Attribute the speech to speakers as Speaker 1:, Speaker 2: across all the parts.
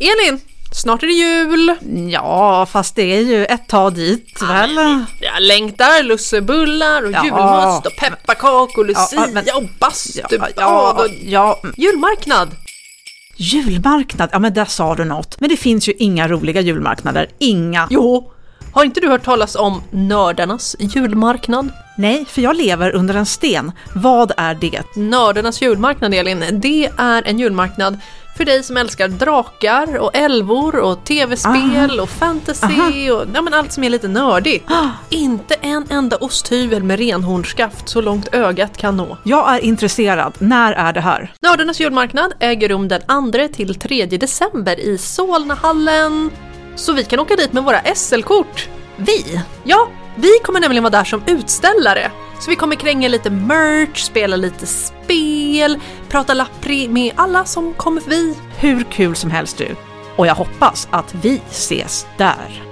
Speaker 1: Elin, snart är det jul!
Speaker 2: Ja, fast det är ju ett tag dit väl?
Speaker 1: Jag längtar lussebullar och
Speaker 2: Ja.
Speaker 1: julmust och pepparkakor och
Speaker 2: Ja,
Speaker 1: lucia
Speaker 2: men-
Speaker 1: och bastubad
Speaker 2: ja, ja,
Speaker 1: och
Speaker 2: ja, mm.
Speaker 1: julmarknad!
Speaker 2: julmarknad, ja men där sa du något. Men det finns ju inga roliga julmarknader, inga.
Speaker 1: Jo, har inte du hört talas om nördarnas julmarknad?
Speaker 2: Nej, för jag lever under en sten. Vad är det?
Speaker 1: Nördarnas julmarknad Elin, det är en julmarknad för dig som älskar drakar och älvor och tv-spel
Speaker 2: Ah.
Speaker 1: och fantasy och ja, men allt som är lite nördigt. Inte en enda osthyvel med renhornskaft så långt ögat kan nå.
Speaker 2: Jag är intresserad, när är det här?
Speaker 1: Nördarnas julmarknad äger rum den 2 till 3 december i Solnahallen. Så vi kan åka dit med våra SL-kort. Vi? Ja, vi kommer nämligen vara där som utställare. Så vi kommer kränga lite merch, spela lite spel, prata lappri med alla som kommer förbi.
Speaker 2: Hur kul som helst du. Och jag hoppas att vi ses där.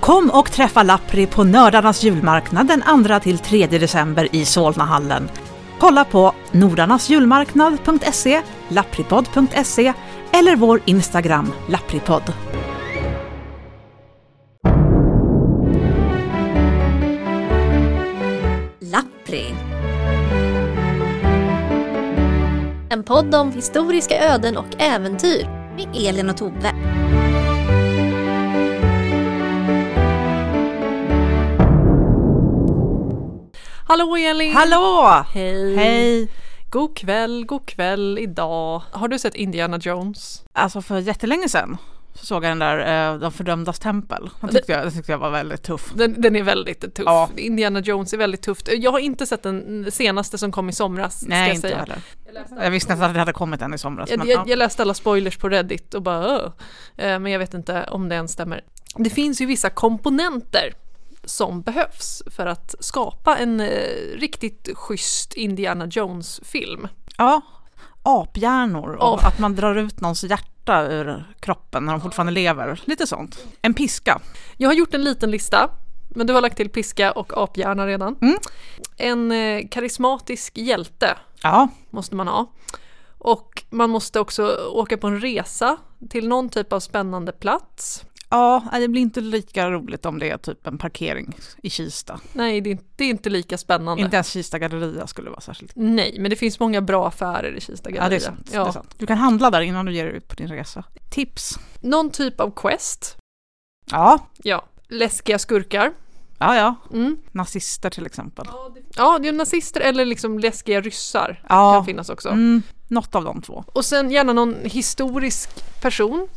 Speaker 2: Kom och träffa Lappri på Nördarnas julmarknad den 2 till 3 december i Solnahallen. Kolla på nordarnasjulmarknad.se, lappripodd.se eller vår Instagram lappripodd.
Speaker 3: Lappri. En podd om historiska öden och äventyr med Elin och Tove.
Speaker 1: Hallå Elin!
Speaker 2: Hallå!
Speaker 1: Hej!
Speaker 2: Hej!
Speaker 1: God kväll, god kväll idag. Har du sett Indiana Jones?
Speaker 2: Alltså för jättelänge sedan så såg jag den där eh, De fördömdas tempel. Den tyckte, jag, den tyckte jag var väldigt tuff.
Speaker 1: Den, den är väldigt tuff.
Speaker 2: Ja.
Speaker 1: Indiana Jones är väldigt tufft. Jag har inte sett den senaste som kom i somras. ska
Speaker 2: Nej,
Speaker 1: jag
Speaker 2: inte jag
Speaker 1: säga.
Speaker 2: heller. Jag visste nästan att det hade kommit en i somras.
Speaker 1: Jag,
Speaker 2: men,
Speaker 1: jag,
Speaker 2: ja.
Speaker 1: jag läste alla spoilers på Reddit och bara "Åh." eh, Men jag vet inte om det ens stämmer. Det finns ju vissa komponenter som behövs för att skapa en eh, riktigt schysst Indiana Jones-film.
Speaker 2: ja, aphjärnor och
Speaker 1: Ap-
Speaker 2: att man drar ut någons hjärta ur kroppen när de fortfarande lever. Lite sånt. En piska.
Speaker 1: Jag har gjort en liten lista, men du har lagt till piska och aphjärna redan.
Speaker 2: Mm.
Speaker 1: En eh, karismatisk hjälte
Speaker 2: Ja,
Speaker 1: måste man ha. Och man måste också åka på en resa till någon typ av spännande plats.
Speaker 2: ja, nej, det blir inte lika roligt om det är typ en parkering i Kista.
Speaker 1: Nej, det är inte, det är inte lika spännande.
Speaker 2: Inte ens Kista galleria skulle vara särskilt
Speaker 1: Nej, men det finns många bra affärer i Kista galleria.
Speaker 2: Ja, det är, sant,
Speaker 1: Ja.
Speaker 2: det är sant. Du kan handla där innan du ger dig ut på din resa. Tips.
Speaker 1: Någon typ av quest.
Speaker 2: Ja,
Speaker 1: Ja. Läskiga skurkar.
Speaker 2: ja, ja.
Speaker 1: Mm.
Speaker 2: Nazister till exempel.
Speaker 1: Ja, det är nazister eller liksom läskiga ryssar. Kan
Speaker 2: Ja,
Speaker 1: finnas också.
Speaker 2: mm, något av de två.
Speaker 1: Och sen gärna någon historisk person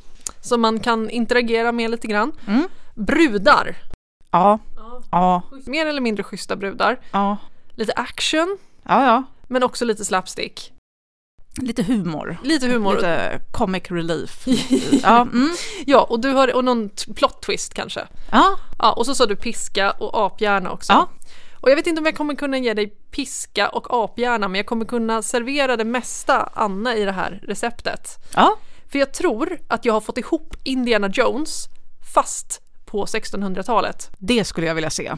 Speaker 1: som man kan interagera med lite grann.
Speaker 2: Mm.
Speaker 1: Brudar.
Speaker 2: Ja, ja,
Speaker 1: Mer eller mindre schyssta brudar.
Speaker 2: ja,
Speaker 1: Lite action,
Speaker 2: ja, ja.
Speaker 1: men också lite slapstick.
Speaker 2: Lite humor.
Speaker 1: Lite humor.
Speaker 2: Lite comic relief. ja, mm.
Speaker 1: Ja, och, du har, och någon t- plot twist kanske.
Speaker 2: ja,
Speaker 1: Ja, och så sa du piska och aphjärna också.
Speaker 2: Ja.
Speaker 1: Och jag vet inte om jag kommer kunna ge dig piska och aphjärna, men jag kommer kunna servera det mesta Anna i det här receptet.
Speaker 2: ja.
Speaker 1: För jag tror att jag har fått ihop Indiana Jones fast på 1600-talet.
Speaker 2: Det skulle jag vilja se.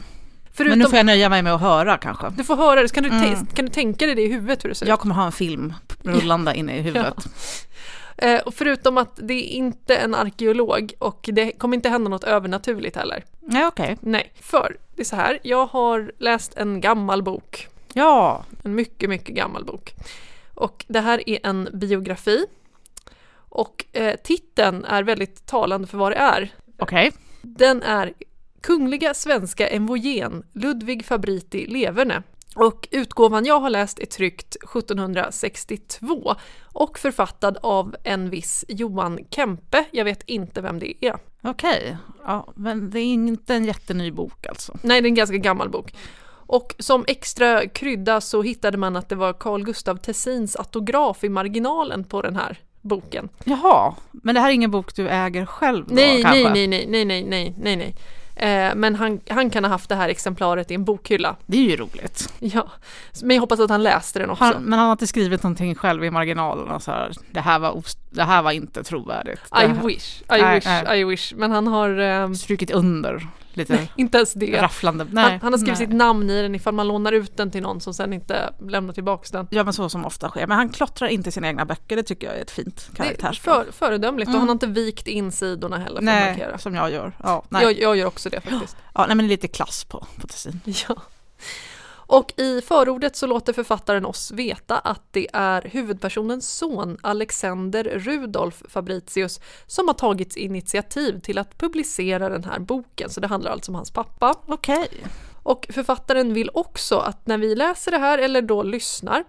Speaker 1: Förutom,
Speaker 2: Men nu får jag Mm. nöja mig med att höra kanske.
Speaker 1: du får höra det, så kan du, te- kan du tänka dig det i huvudet hur det ser
Speaker 2: Jag kommer ha en film rullande inne i huvudet.
Speaker 1: ut? Eh, och förutom att det är inte en arkeolog och det kommer inte hända något övernaturligt heller.
Speaker 2: Nej, okej.
Speaker 1: Nej, för det är så här, jag har läst en gammal bok
Speaker 2: Ja,
Speaker 1: En mycket, mycket gammal bok. Och det här är en biografi. Och eh, titeln är väldigt talande för vad det är.
Speaker 2: okej.
Speaker 1: Den är Kungliga svenska envoyén Ludvig Fabriti Leverne. Och utgåvan jag har läst är tryckt 1762 och författad av en viss Johan Kempe. Jag vet inte vem det är.
Speaker 2: Okej. Ja, men det är inte en jätteny bok alltså.
Speaker 1: Nej, det är en ganska gammal bok. Och som extra krydda så hittade man att det var Carl Gustav Tessins autograf i marginalen på den här boken.
Speaker 2: Jaha, men det här är ingen bok du äger själv då,
Speaker 1: nej, nej,
Speaker 2: kanske?
Speaker 1: nej, nej, nej, nej, nej, nej, nej. Eh, men han, han kan ha haft det här exemplaret i en bokhylla.
Speaker 2: Det är ju roligt.
Speaker 1: Ja. Men jag hoppas att han läste den också.
Speaker 2: Han, men han har inte skrivit någonting själv i marginalerna så här, det här var, os- det här var inte trovärdigt. Det
Speaker 1: I
Speaker 2: här-
Speaker 1: wish, I
Speaker 2: Nej,
Speaker 1: wish,
Speaker 2: nej.
Speaker 1: I wish. Men han har... ehm,
Speaker 2: Strukit under lite
Speaker 1: Inte ens det.
Speaker 2: rafflande. Nej,
Speaker 1: Han, han har skrivit
Speaker 2: nej.
Speaker 1: sitt namn i den ifall man lånar ut den till någon som sen inte lämnar tillbaks den.
Speaker 2: Ja men så som ofta sker. Men han klottrar inte sina egna böcker, det tycker jag är ett fint
Speaker 1: Det är
Speaker 2: karaktärsdrag.
Speaker 1: för, föredömligt och han har inte vikt in sidorna heller för att
Speaker 2: Mm. Nej,
Speaker 1: markera.
Speaker 2: som jag gör. Ja, nej.
Speaker 1: Jag, jag gör också det faktiskt.
Speaker 2: Ja, nej men det är lite klass på, på Tessin.
Speaker 1: Ja. Och i förordet så låter författaren oss veta att det är huvudpersonens son Alexander Rudolf Fabricius som har tagits initiativ till att publicera den här boken. Så det handlar alltså om hans pappa.
Speaker 2: Okej.
Speaker 1: Och författaren vill också att när vi läser det här eller då lyssnar,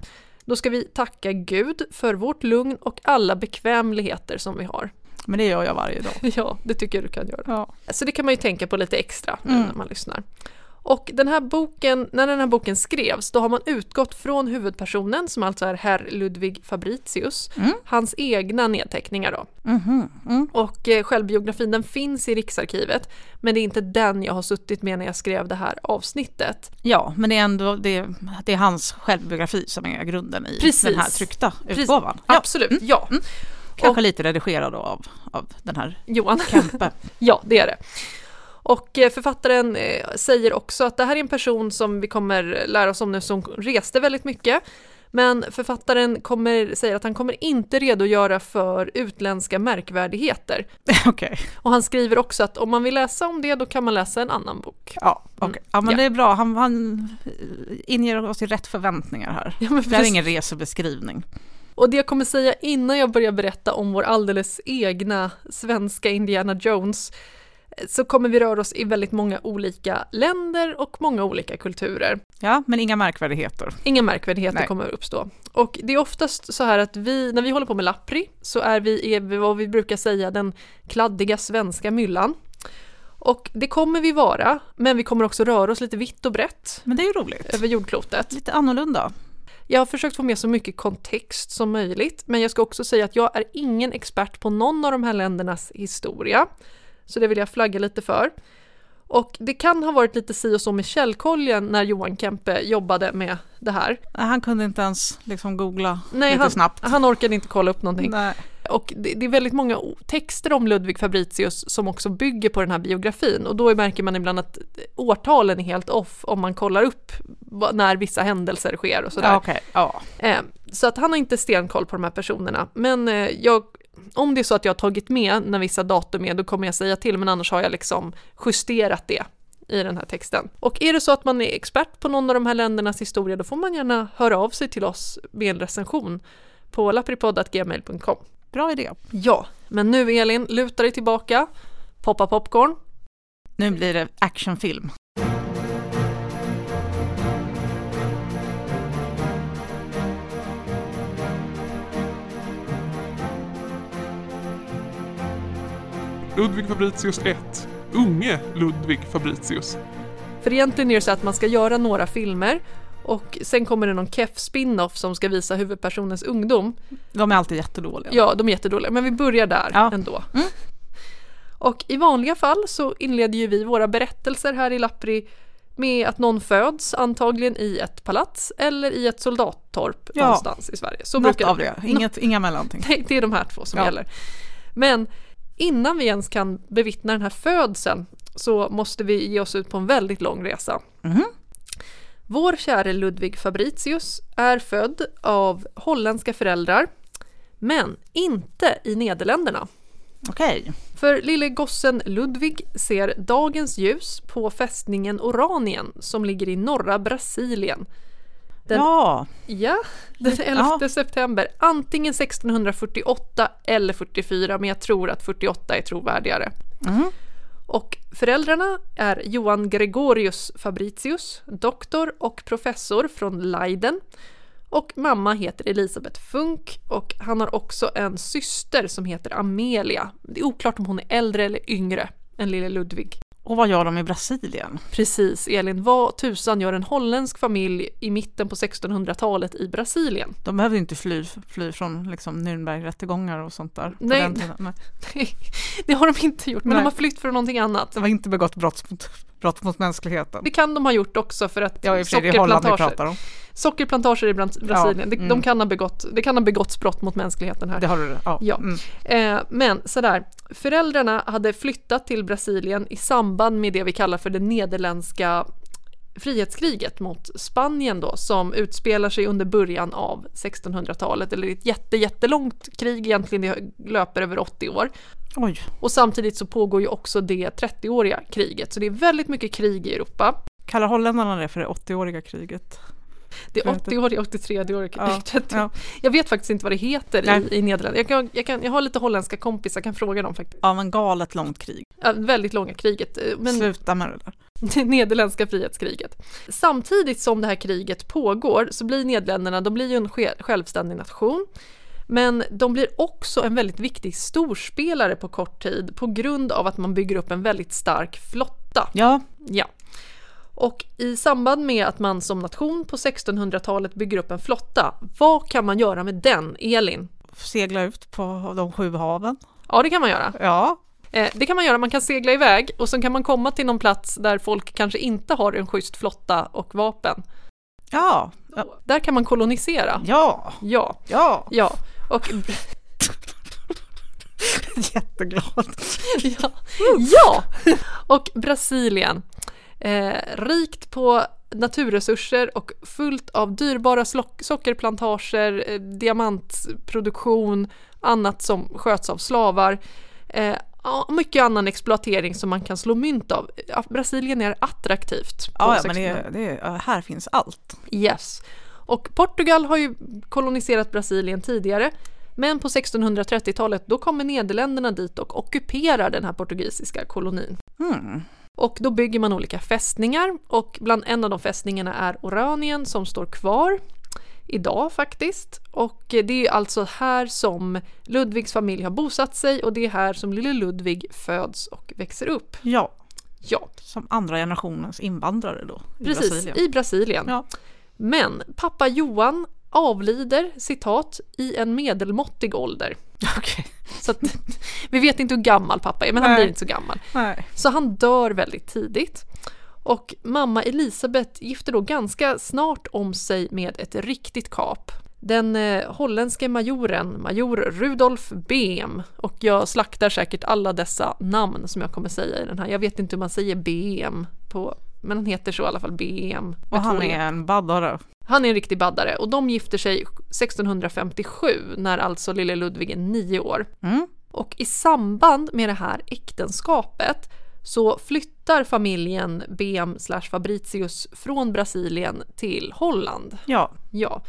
Speaker 1: då ska vi tacka Gud för vårt lugn och alla bekvämligheter som vi har.
Speaker 2: Men det gör jag varje dag.
Speaker 1: Ja, det tycker jag du kan göra.
Speaker 2: Ja.
Speaker 1: Så det kan man ju tänka på lite extra nu när man lyssnar. Och den här boken, när den här boken skrevs, då har man utgått från huvudpersonen som alltså är herr Ludwig Fabricius, hans egna nedteckningar då. Och eh, självbiografin den finns i Riksarkivet, men det är inte den jag har suttit med när jag skrev det här avsnittet.
Speaker 2: ja, men det är ändå det, det är hans självbiografi som är grunden i
Speaker 1: Precis.
Speaker 2: den här tryckta
Speaker 1: Precis.
Speaker 2: utgåvan. Ja,
Speaker 1: Absolut, ja.
Speaker 2: kanske lite redigerad då av, av den här
Speaker 1: Johan.
Speaker 2: Kempe.
Speaker 1: Ja, det är det. Och eh, författaren eh, säger också att det här är en person som vi kommer lära oss om nu som reste väldigt mycket. Men författaren kommer, säger att han kommer inte redogöra för utländska märkvärdigheter.
Speaker 2: Okej.
Speaker 1: Och han skriver också att om man vill läsa om det då kan man läsa en annan bok.
Speaker 2: Ja, okej. ja, men
Speaker 1: Mm. Ja.
Speaker 2: det är bra. Han, han inger oss i rätt förväntningar här.
Speaker 1: Ja, men
Speaker 2: det här är
Speaker 1: precis.
Speaker 2: ingen resebeskrivning.
Speaker 1: Och det jag kommer säga innan jag börjar berätta om vår alldeles egna svenska Indiana Jones eh, så kommer vi röra oss i väldigt många olika länder och många olika kulturer.
Speaker 2: Ja, men inga märkvärdigheter.
Speaker 1: Inga märkvärdigheter
Speaker 2: Nej.
Speaker 1: kommer att uppstå. Och det är oftast så här att vi, när vi håller på med lappri så är vi i vad vi brukar säga den kladdiga svenska myllan. Och det kommer vi vara, men vi kommer också röra oss lite vitt och brett
Speaker 2: Men det är ju roligt.
Speaker 1: över jordklotet.
Speaker 2: Lite annorlunda.
Speaker 1: Jag har försökt få med så mycket kontext som möjligt, men jag ska också säga att jag är ingen expert på någon av de här ländernas historia. Så det vill jag flagga lite för. Och det kan ha varit lite si och så med källkollen när Johan Kempe jobbade med det här.
Speaker 2: Nej, Han kunde inte ens liksom googla
Speaker 1: Nej,
Speaker 2: lite
Speaker 1: han,
Speaker 2: snabbt.
Speaker 1: han orkade inte kolla upp någonting.
Speaker 2: Nej.
Speaker 1: Och det, det är väldigt många o- texter om Ludwig Fabricius som också bygger på den här biografin. Och då märker man ibland att årtalen är helt off om man kollar upp vad- när vissa händelser sker och sådär.
Speaker 2: Ja, okej. Ja.
Speaker 1: Eh, så att han har inte stenkoll på de här personerna. Men eh, jag, om det är så att jag har tagit med när vissa datum är, då kommer jag säga till. Men annars har jag liksom justerat det i den här texten. Och är det så att man är expert på någon av de här ländernas historia, då får man gärna höra av sig till oss med en recension på lapripodd.gmail.com.
Speaker 2: Bra idé.
Speaker 1: Ja, men nu Elin, luta dig tillbaka, poppa popcorn.
Speaker 2: Nu blir det actionfilm.
Speaker 4: Ludvig Fabricius 1. Unge Ludvig Fabricius.
Speaker 1: För egentligen är det så att man ska göra några filmer och sen kommer det någon keff spin-off som ska visa huvudpersonens ungdom.
Speaker 2: De är alltid jättedåliga.
Speaker 1: Ja, de är jättedåliga, men vi börjar där
Speaker 2: Ja. Mm.
Speaker 1: ändå. Och i vanliga fall så inleder ju vi våra berättelser här i Lappri med att någon föds, antagligen i ett palats eller i ett soldattorp
Speaker 2: Ja.
Speaker 1: någonstans i Sverige. Så
Speaker 2: Något
Speaker 1: brukar
Speaker 2: av det. Inget, Inga mellanting.
Speaker 1: Nej, det är de här två som
Speaker 2: Ja.
Speaker 1: gäller. Men innan vi ens kan bevittna den här födseln så måste vi ge oss ut på en väldigt lång resa. Vår käre Ludvig Fabricius är född av holländska föräldrar, men inte i Nederländerna.
Speaker 2: Okej.
Speaker 1: För lille gossen Ludvig ser dagens ljus på fästningen Oranien som ligger i norra Brasilien. Den-
Speaker 2: Ja.
Speaker 1: Ja, den 11 september. Antingen 1648 eller 44, men jag tror att 48 är trovärdigare. Och föräldrarna är Johan Gregorius Fabricius, doktor och professor från Leiden. Och mamma heter Elisabeth Funk och han har också en syster som heter Amelia. Det är oklart om hon är äldre eller yngre än lille Ludvig.
Speaker 2: Och vad gör de i Brasilien?
Speaker 1: Precis, Elin, vad tusan gör en holländsk familj i mitten på 1600-talet i Brasilien?
Speaker 2: De behöver ju inte fly, fly från liksom Nürnbergrättegångar och sånt där. på
Speaker 1: Nej.
Speaker 2: den tiden. Nej.
Speaker 1: Nej, det har de inte gjort, men
Speaker 2: Nej.
Speaker 1: de har flytt från någonting annat.
Speaker 2: De har inte begått brott mot, brott mot mänskligheten.
Speaker 1: Det kan de ha gjort också för att
Speaker 2: Ja, i och för sig, det är Holland vi
Speaker 1: sockerplantager-
Speaker 2: pratar om.
Speaker 1: Sockerplantager i Bras- Brasilien, det, de
Speaker 2: mm.
Speaker 1: kan ha begått, det kan ha begåtts brott mot mänskligheten här.
Speaker 2: Det har du, ja.
Speaker 1: Ja.
Speaker 2: Mm.
Speaker 1: Eh, men sådär, föräldrarna hade flyttat till Brasilien i samband med det vi kallar för det nederländska frihetskriget mot Spanien då som utspelar sig under början av 1600-talet eller ett jätte, jättelångt krig egentligen, det löper över 80 år.
Speaker 2: Oj.
Speaker 1: Och samtidigt så pågår ju också det 30-åriga kriget, så det är väldigt mycket krig i Europa.
Speaker 2: Kallar holländarna det för det 80-åriga kriget?
Speaker 1: Det är 80-åriga, 83-åriga
Speaker 2: Ja,
Speaker 1: kriget.
Speaker 2: ja.
Speaker 1: Jag vet faktiskt inte vad det heter
Speaker 2: Nej.
Speaker 1: i, i Nederländerna. Jag, kan, jag, kan, jag har lite holländska kompisar, jag kan fråga dem faktiskt.
Speaker 2: Ja, men galet långt krig.
Speaker 1: Ja, väldigt långa kriget, eh, men
Speaker 2: Sluta med det där.
Speaker 1: det nederländska frihetskriget. Samtidigt som det här kriget pågår så blir Nederländerna, de blir ju en sje- självständig nation. Men de blir också en väldigt viktig storspelare på kort tid på grund av att man bygger upp en väldigt stark flotta.
Speaker 2: Ja,
Speaker 1: Ja. Och i samband med att man som nation på 1600-talet bygger upp en flotta, vad kan man göra med den, Elin?
Speaker 2: segla ut på de sju haven.
Speaker 1: Ja, det kan man göra.
Speaker 2: Ja,
Speaker 1: Eh, det kan man göra, man kan segla iväg och sen kan man komma till någon plats där folk kanske inte har en schysst flotta och vapen.
Speaker 2: ja,
Speaker 1: Där kan man kolonisera.
Speaker 2: ja,
Speaker 1: Ja,
Speaker 2: ja.
Speaker 1: ja. Och
Speaker 2: Jätteglad.
Speaker 1: Ja! ja! Och Brasilien. Eh, rikt på naturresurser och fullt av dyrbara slock- sockerplantager, eh, diamantproduktion, annat som sköts av slavar. Eh, ja, mycket annan exploatering som man kan slå mynt av. Ja, Brasilien är attraktivt. på
Speaker 2: Ja, ja, men
Speaker 1: 1600-talet.
Speaker 2: det, det, ja, här finns allt.
Speaker 1: Yes. Och Portugal har ju koloniserat Brasilien tidigare. Men på 1630-talet då kommer Nederländerna dit och ockuperar den här portugisiska kolonin.
Speaker 2: Mm.
Speaker 1: Och då bygger man olika fästningar och bland en av de fästningarna är Oranien som står kvar idag faktiskt. Och det är alltså här som Ludvigs familj har bosatt sig och det är här som lille Ludvig föds och växer upp.
Speaker 2: Ja,
Speaker 1: Ja,
Speaker 2: som andra generationens invandrare då. i
Speaker 1: precis,
Speaker 2: Brasilien.
Speaker 1: i Brasilien.
Speaker 2: Ja.
Speaker 1: Men pappa Johan avlider, citat, i en medelmåttig ålder.
Speaker 2: Okej.
Speaker 1: Så att, vi vet inte hur gammal pappa är, men han
Speaker 2: Nej.
Speaker 1: blir inte så gammal.
Speaker 2: Nej.
Speaker 1: Så han dör väldigt tidigt. Och mamma Elisabeth gifter då ganska snart om sig med ett riktigt kap. Den eh, holländske majoren, major Rudolf Behm. Och jag slaktar säkert alla dessa namn som jag kommer säga i den här. Jag vet inte hur man säger Behm på... Men han heter så i alla fall, Behm.
Speaker 2: Och
Speaker 1: Med
Speaker 2: han
Speaker 1: två E.
Speaker 2: är en baddare.
Speaker 1: Han är en riktig baddare och de gifter sig 1657 när alltså lille Ludvig är nio år.
Speaker 2: Mm.
Speaker 1: Och i samband med det här äktenskapet så flyttar familjen BM slash Fabricius från Brasilien till Holland.
Speaker 2: Ja,
Speaker 1: Ja.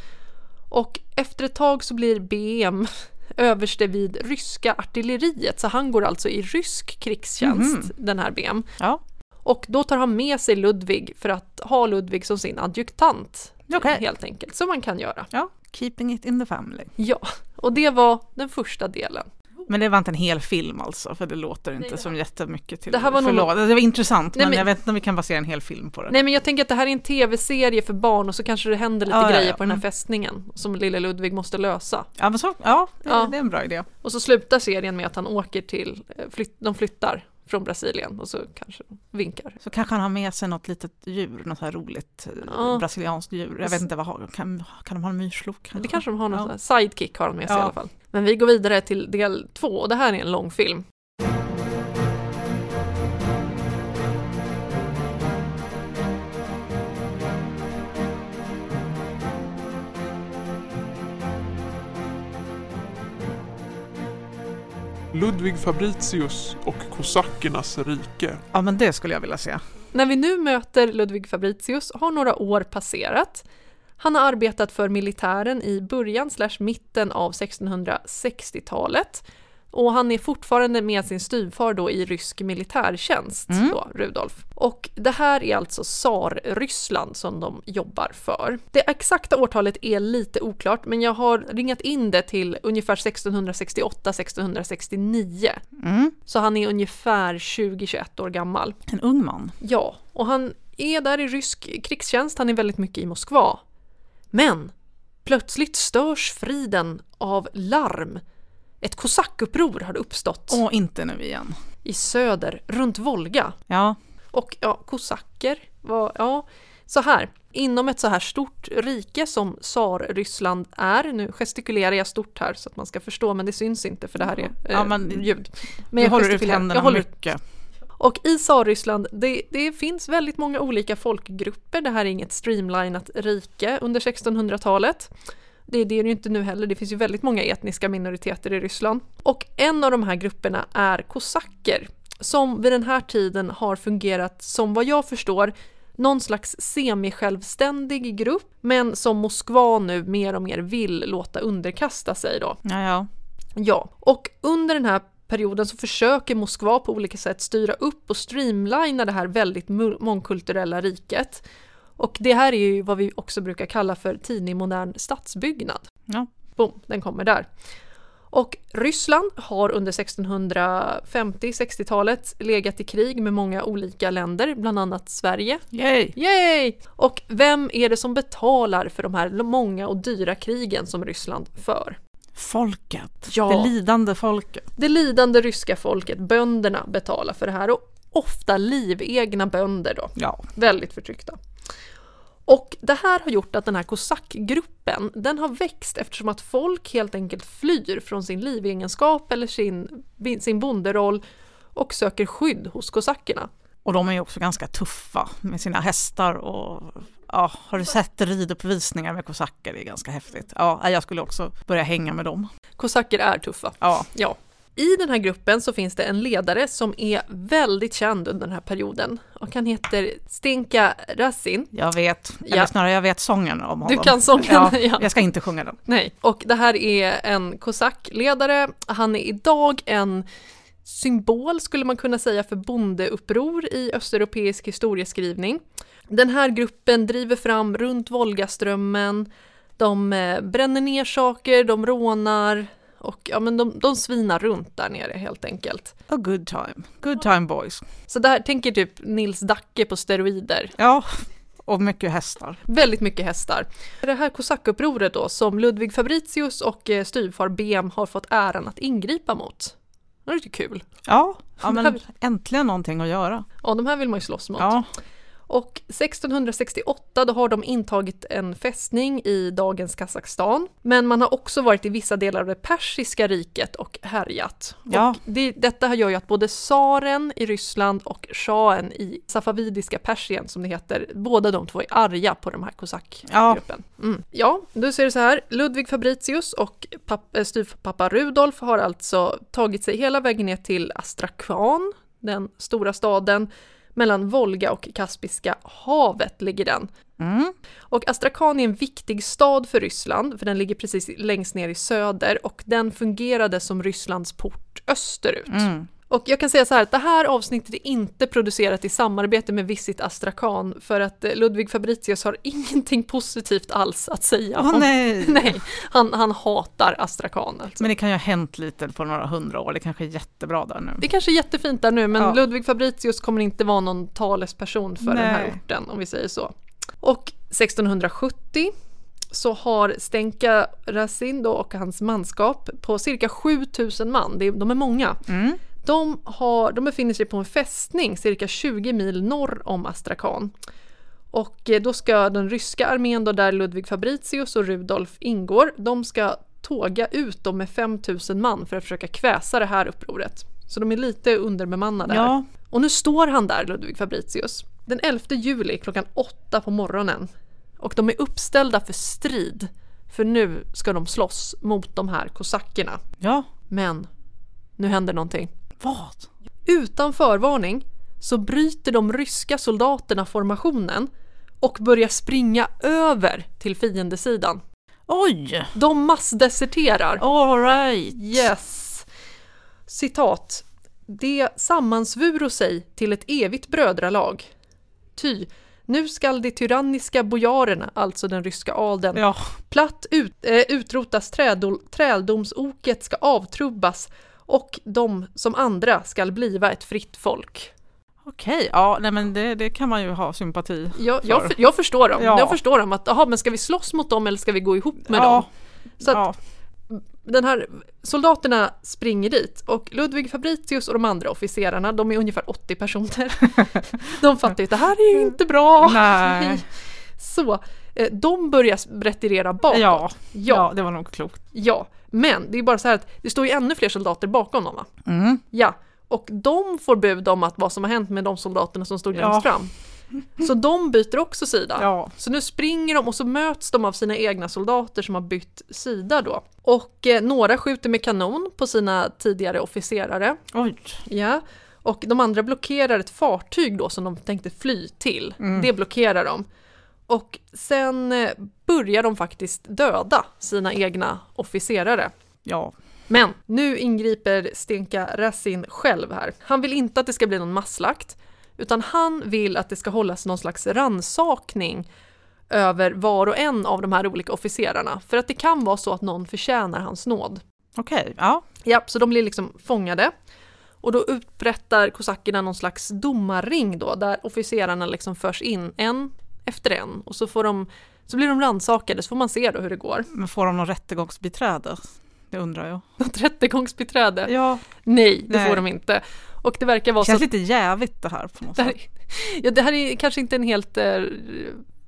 Speaker 1: Och efter ett tag så blir BM överste vid ryska artilleriet så han går alltså i rysk krigstjänst, den här BM.
Speaker 2: ja,
Speaker 1: Och då tar han med sig Ludvig för att ha Ludvig som sin adjutant.
Speaker 2: Okej.
Speaker 1: Helt enkelt, som man kan göra.
Speaker 2: ja. Keeping it in the family.
Speaker 1: Ja, och det var den första delen.
Speaker 2: Men det var inte en hel film alltså, för det låter inte som jättemycket till.
Speaker 1: Det här var nog-
Speaker 2: Förlåt, det var intressant,
Speaker 1: Nej,
Speaker 2: men,
Speaker 1: men-
Speaker 2: jag vet inte om vi kan basera en hel film på det.
Speaker 1: Nej men jag tänker att det här är en tv-serie för barn och så kanske det händer lite
Speaker 2: Ja, ja,
Speaker 1: grejer
Speaker 2: ja.
Speaker 1: på den här
Speaker 2: Mm.
Speaker 1: fästningen som lille Ludvig måste lösa.
Speaker 2: Ja, men så, ja, det,
Speaker 1: Ja.
Speaker 2: det är en bra idé.
Speaker 1: Och så slutar serien med att han åker till, eh, flytt, de flyttar från Brasilien och så kanske de vinkar.
Speaker 2: Så kanske han har med sig något litet djur, något så här roligt eh,
Speaker 1: Ja.
Speaker 2: brasilianskt djur. Jag vet inte, vad, har- kan, kan de ha en myrslok kanske?
Speaker 1: Det kanske de har någon
Speaker 2: Ja.
Speaker 1: sån här sidekick har de med sig
Speaker 2: Ja.
Speaker 1: i alla fall. Men vi går vidare till del två och det här är en lång film.
Speaker 4: Ludvig Fabricius och kosackernas rike.
Speaker 2: Ja, men det skulle jag vilja se.
Speaker 1: När vi nu möter Ludvig Fabricius har några år passerat. Han har arbetat för militären i början slash mitten av 1660-talet och han är fortfarande med sin styvfar då i rysk militärtjänst, då, Rudolf. Och det här är alltså Tsar-Ryssland som de jobbar för. Det exakta årtalet är lite oklart, men jag har ringat in det till ungefär 1668-1669.
Speaker 2: Mm.
Speaker 1: Så han är ungefär 20-21 år gammal.
Speaker 2: En ung man.
Speaker 1: Ja, och han är där i rysk krigstjänst, han är väldigt mycket i Moskva. Men plötsligt störs friden av larm. Ett kosackuppror har uppstått
Speaker 2: Och inte nu igen.
Speaker 1: i söder, runt Volga.
Speaker 2: Ja,
Speaker 1: Och ja, kosacker var, ja, så här. Inom ett så här stort rike som Tsar-Ryssland är, nu gestikulerar jag stort här så att man ska förstå men det syns inte för det här är eh,
Speaker 2: Ja, men-
Speaker 1: ljud. Men
Speaker 2: Men jag håller ut
Speaker 1: gestikulerar.
Speaker 2: händerna
Speaker 1: jag håller
Speaker 2: mycket.
Speaker 1: och i Tsarryssland, det, det finns väldigt många olika folkgrupper. Det här är inget streamlinat rike under 1600-talet. Det, det är det ju inte nu heller, det finns ju väldigt många etniska minoriteter i Ryssland. Och en av de här grupperna är kosacker, som vid den här tiden har fungerat som vad jag förstår någon slags semi-självständig grupp, men som Moskva nu mer och mer vill låta underkasta sig då.
Speaker 2: Ja, ja.
Speaker 1: Ja, och under den här perioden så försöker Moskva på olika sätt styra upp och streamlina det här väldigt mu- mångkulturella riket. Och det här är ju vad vi också brukar kalla för tidig modern stadsbyggnad.
Speaker 2: Ja.
Speaker 1: Boom, den kommer där. Och Ryssland har under 1650-60-talet legat i krig med många olika länder, bland annat Sverige.
Speaker 2: Yay!
Speaker 1: Yay! Och vem är det som betalar för de här många och dyra krigen som Ryssland för?
Speaker 2: Folket.
Speaker 1: Ja.
Speaker 2: Det lidande folket.
Speaker 1: Det lidande ryska folket, bönderna, betalar för det här och ofta livegna bönder då,
Speaker 2: Ja.
Speaker 1: väldigt förtryckta. Och det här har gjort att den här kosackgruppen, den har växt eftersom att folk helt enkelt flyr från sin livegenskap eller sin, sin bonderoll och söker skydd hos kosackerna.
Speaker 2: Och de är ju också ganska tuffa med sina hästar och ja, har du sett riduppvisningar med kosacker? Det är ganska häftigt. Ja, jag skulle också börja hänga med dem.
Speaker 1: Kosacker är tuffa.
Speaker 2: Ja,
Speaker 1: Ja. I den här gruppen så finns det en ledare som är väldigt känd under den här perioden och han heter Stinka Rasin.
Speaker 2: jag vet.
Speaker 1: Ja.
Speaker 2: Eller snarare jag vet sången om honom.
Speaker 1: Du kan sången,
Speaker 2: Ja,
Speaker 1: ja.
Speaker 2: Jag ska inte sjunga den.
Speaker 1: Nej, och det här är en kosackledare. Han är idag en symbol skulle man kunna säga för bondeuppror i östeuropeisk historieskrivning. Den här gruppen driver fram runt Volgaströmmen, de eh, bränner ner saker, de rånar och ja, men de, de svinar runt där nere helt enkelt.
Speaker 2: A good time. Good time boys.
Speaker 1: Så det här tänker typ Nils Dacke på steroider.
Speaker 2: Ja, och mycket hästar.
Speaker 1: Väldigt mycket hästar. Det här kosackupproret då som Ludvig Fabricius och eh, styvfar Bem har fått äran att ingripa mot. Det är lite kul.
Speaker 2: Ja, ja
Speaker 1: Det
Speaker 2: men
Speaker 1: här-
Speaker 2: äntligen någonting att göra.
Speaker 1: Ja, de här vill man ju slåss mot.
Speaker 2: Ja,
Speaker 1: Och 1668 då har de intagit en fästning i dagens Kazakstan. Men man har också varit i vissa delar av det persiska riket och härjat.
Speaker 2: ja,
Speaker 1: Det, detta här gör ju att både tsaren i Ryssland och shahen i safavidiska Persien, som det heter, båda de två är arga på de här kosackgruppen. Ja. Mm. ja, då ser det så här. Ludvig Fabricius och papp, eh, styvpappa Rudolf har alltså tagit sig hela vägen ner till Astrakhan, den stora staden, mellan Volga och Kaspiska havet ligger den. Och Astrakhan är en viktig stad för Ryssland, för den ligger precis längst ner i söder och den fungerade som Rysslands port österut.
Speaker 2: Mm.
Speaker 1: Och jag kan säga så här att det här avsnittet är inte producerat i samarbete med Visit Astrakhan för att eh, Ludvig Fabricius har ingenting positivt alls att säga.
Speaker 2: Åh,
Speaker 1: om-
Speaker 2: nej.
Speaker 1: nej han, han hatar Astrakhan alltså.
Speaker 2: men det kan ju ha hänt lite på några hundra år. Det kanske är jättebra där nu.
Speaker 1: Det kanske är jättefint där nu men
Speaker 2: Ja.
Speaker 1: Ludvig Fabricius kommer inte vara någon talesperson för den här
Speaker 2: Nej.
Speaker 1: orten om vi säger så. Och 1670 så har Stenka Rasin då och hans manskap på cirka 7000 man, det är- de är många, de, har, de befinner sig på en fästning cirka 20 mil norr om Astrakhan. Och eh, då ska den ryska armén, då där Ludvig Fabricius och Rudolf ingår, de ska tåga ut dem med 5000 man för att försöka kväsa det här upproret. Så de är lite underbemannade här.
Speaker 2: Ja,
Speaker 1: Och nu står han där, Ludvig Fabricius, den 11 juli klockan 8 på morgonen. Och de är uppställda för strid, för nu ska de slåss mot de här kosackerna.
Speaker 2: ja,
Speaker 1: Men nu händer någonting.
Speaker 2: vad?
Speaker 1: Utan förvarning så bryter de ryska soldaterna formationen och börjar springa över till fiendesidan.
Speaker 2: Oj,
Speaker 1: De massdeserterar.
Speaker 2: all right.
Speaker 1: Yes. Citat. Det sammansvuro sig till ett evigt brödralag. Ty, nu skall de tyranniska bojarerna, alltså den ryska adeln,
Speaker 2: Ja,
Speaker 1: platt ut, eh, utrotas, trädol, träldomsoket ska avtrubbas och de som andra skall bliva ett fritt folk.
Speaker 2: okej. Ja, nej men det, det kan man ju ha sympati
Speaker 1: Jag, jag,
Speaker 2: för.
Speaker 1: för- jag förstår dem.
Speaker 2: Ja.
Speaker 1: Jag förstår dem att, aha, men ska vi slåss mot dem eller ska vi gå ihop med dem?
Speaker 2: ja,
Speaker 1: Så att,
Speaker 2: ja,
Speaker 1: den här soldaterna springer dit och Ludvig Fabricius och de andra officerarna, de är ungefär 80 personer. De fattar ju att det här är ju inte bra.
Speaker 2: Nej.
Speaker 1: Så, eh, de börjar retirera bakåt.
Speaker 2: Ja,
Speaker 1: ja.
Speaker 2: ja, det var nog klokt.
Speaker 1: Ja, men det är bara så här att det står ju ännu fler soldater bakom dem va?
Speaker 2: Mm.
Speaker 1: Ja, och de får bud om att vad som har hänt med de soldaterna som stod
Speaker 2: Ja.
Speaker 1: längst fram. Så de byter också sida.
Speaker 2: Ja.
Speaker 1: Så nu springer de och så möts de av sina egna soldater som har bytt sida då. Och eh, några skjuter med kanon på sina tidigare officerare.
Speaker 2: Oj.
Speaker 1: Ja. Och de andra blockerar ett fartyg då som de tänkte fly till. Det blockerar de. Och sen eh, börjar de faktiskt döda sina egna officerare.
Speaker 2: Ja.
Speaker 1: Men nu ingriper Stenka Rasin själv här. Han vill inte att det ska bli någon masslakt, utan han vill att det ska hållas någon slags ransakning över var och en av de här olika officerarna. För att det kan vara så att någon förtjänar hans nåd.
Speaker 2: Okej, ja.
Speaker 1: Ja, så de blir liksom fångade. Och då upprättar kosackerna någon slags domarring då, där officerarna liksom förs in en efter en. Och så, får de, så blir de ransakade, så får man se då hur det går.
Speaker 2: Men får de någon rättegångsbiträde? Det undrar jag.
Speaker 1: Något rättegångsbiträde?
Speaker 2: Ja,
Speaker 1: Nej, det
Speaker 2: Nej.
Speaker 1: får de inte. Och det verkar vara
Speaker 2: känns
Speaker 1: så...
Speaker 2: lite jävigt det här på något
Speaker 1: Det
Speaker 2: sätt.
Speaker 1: här, ja, det här är kanske inte en helt eh,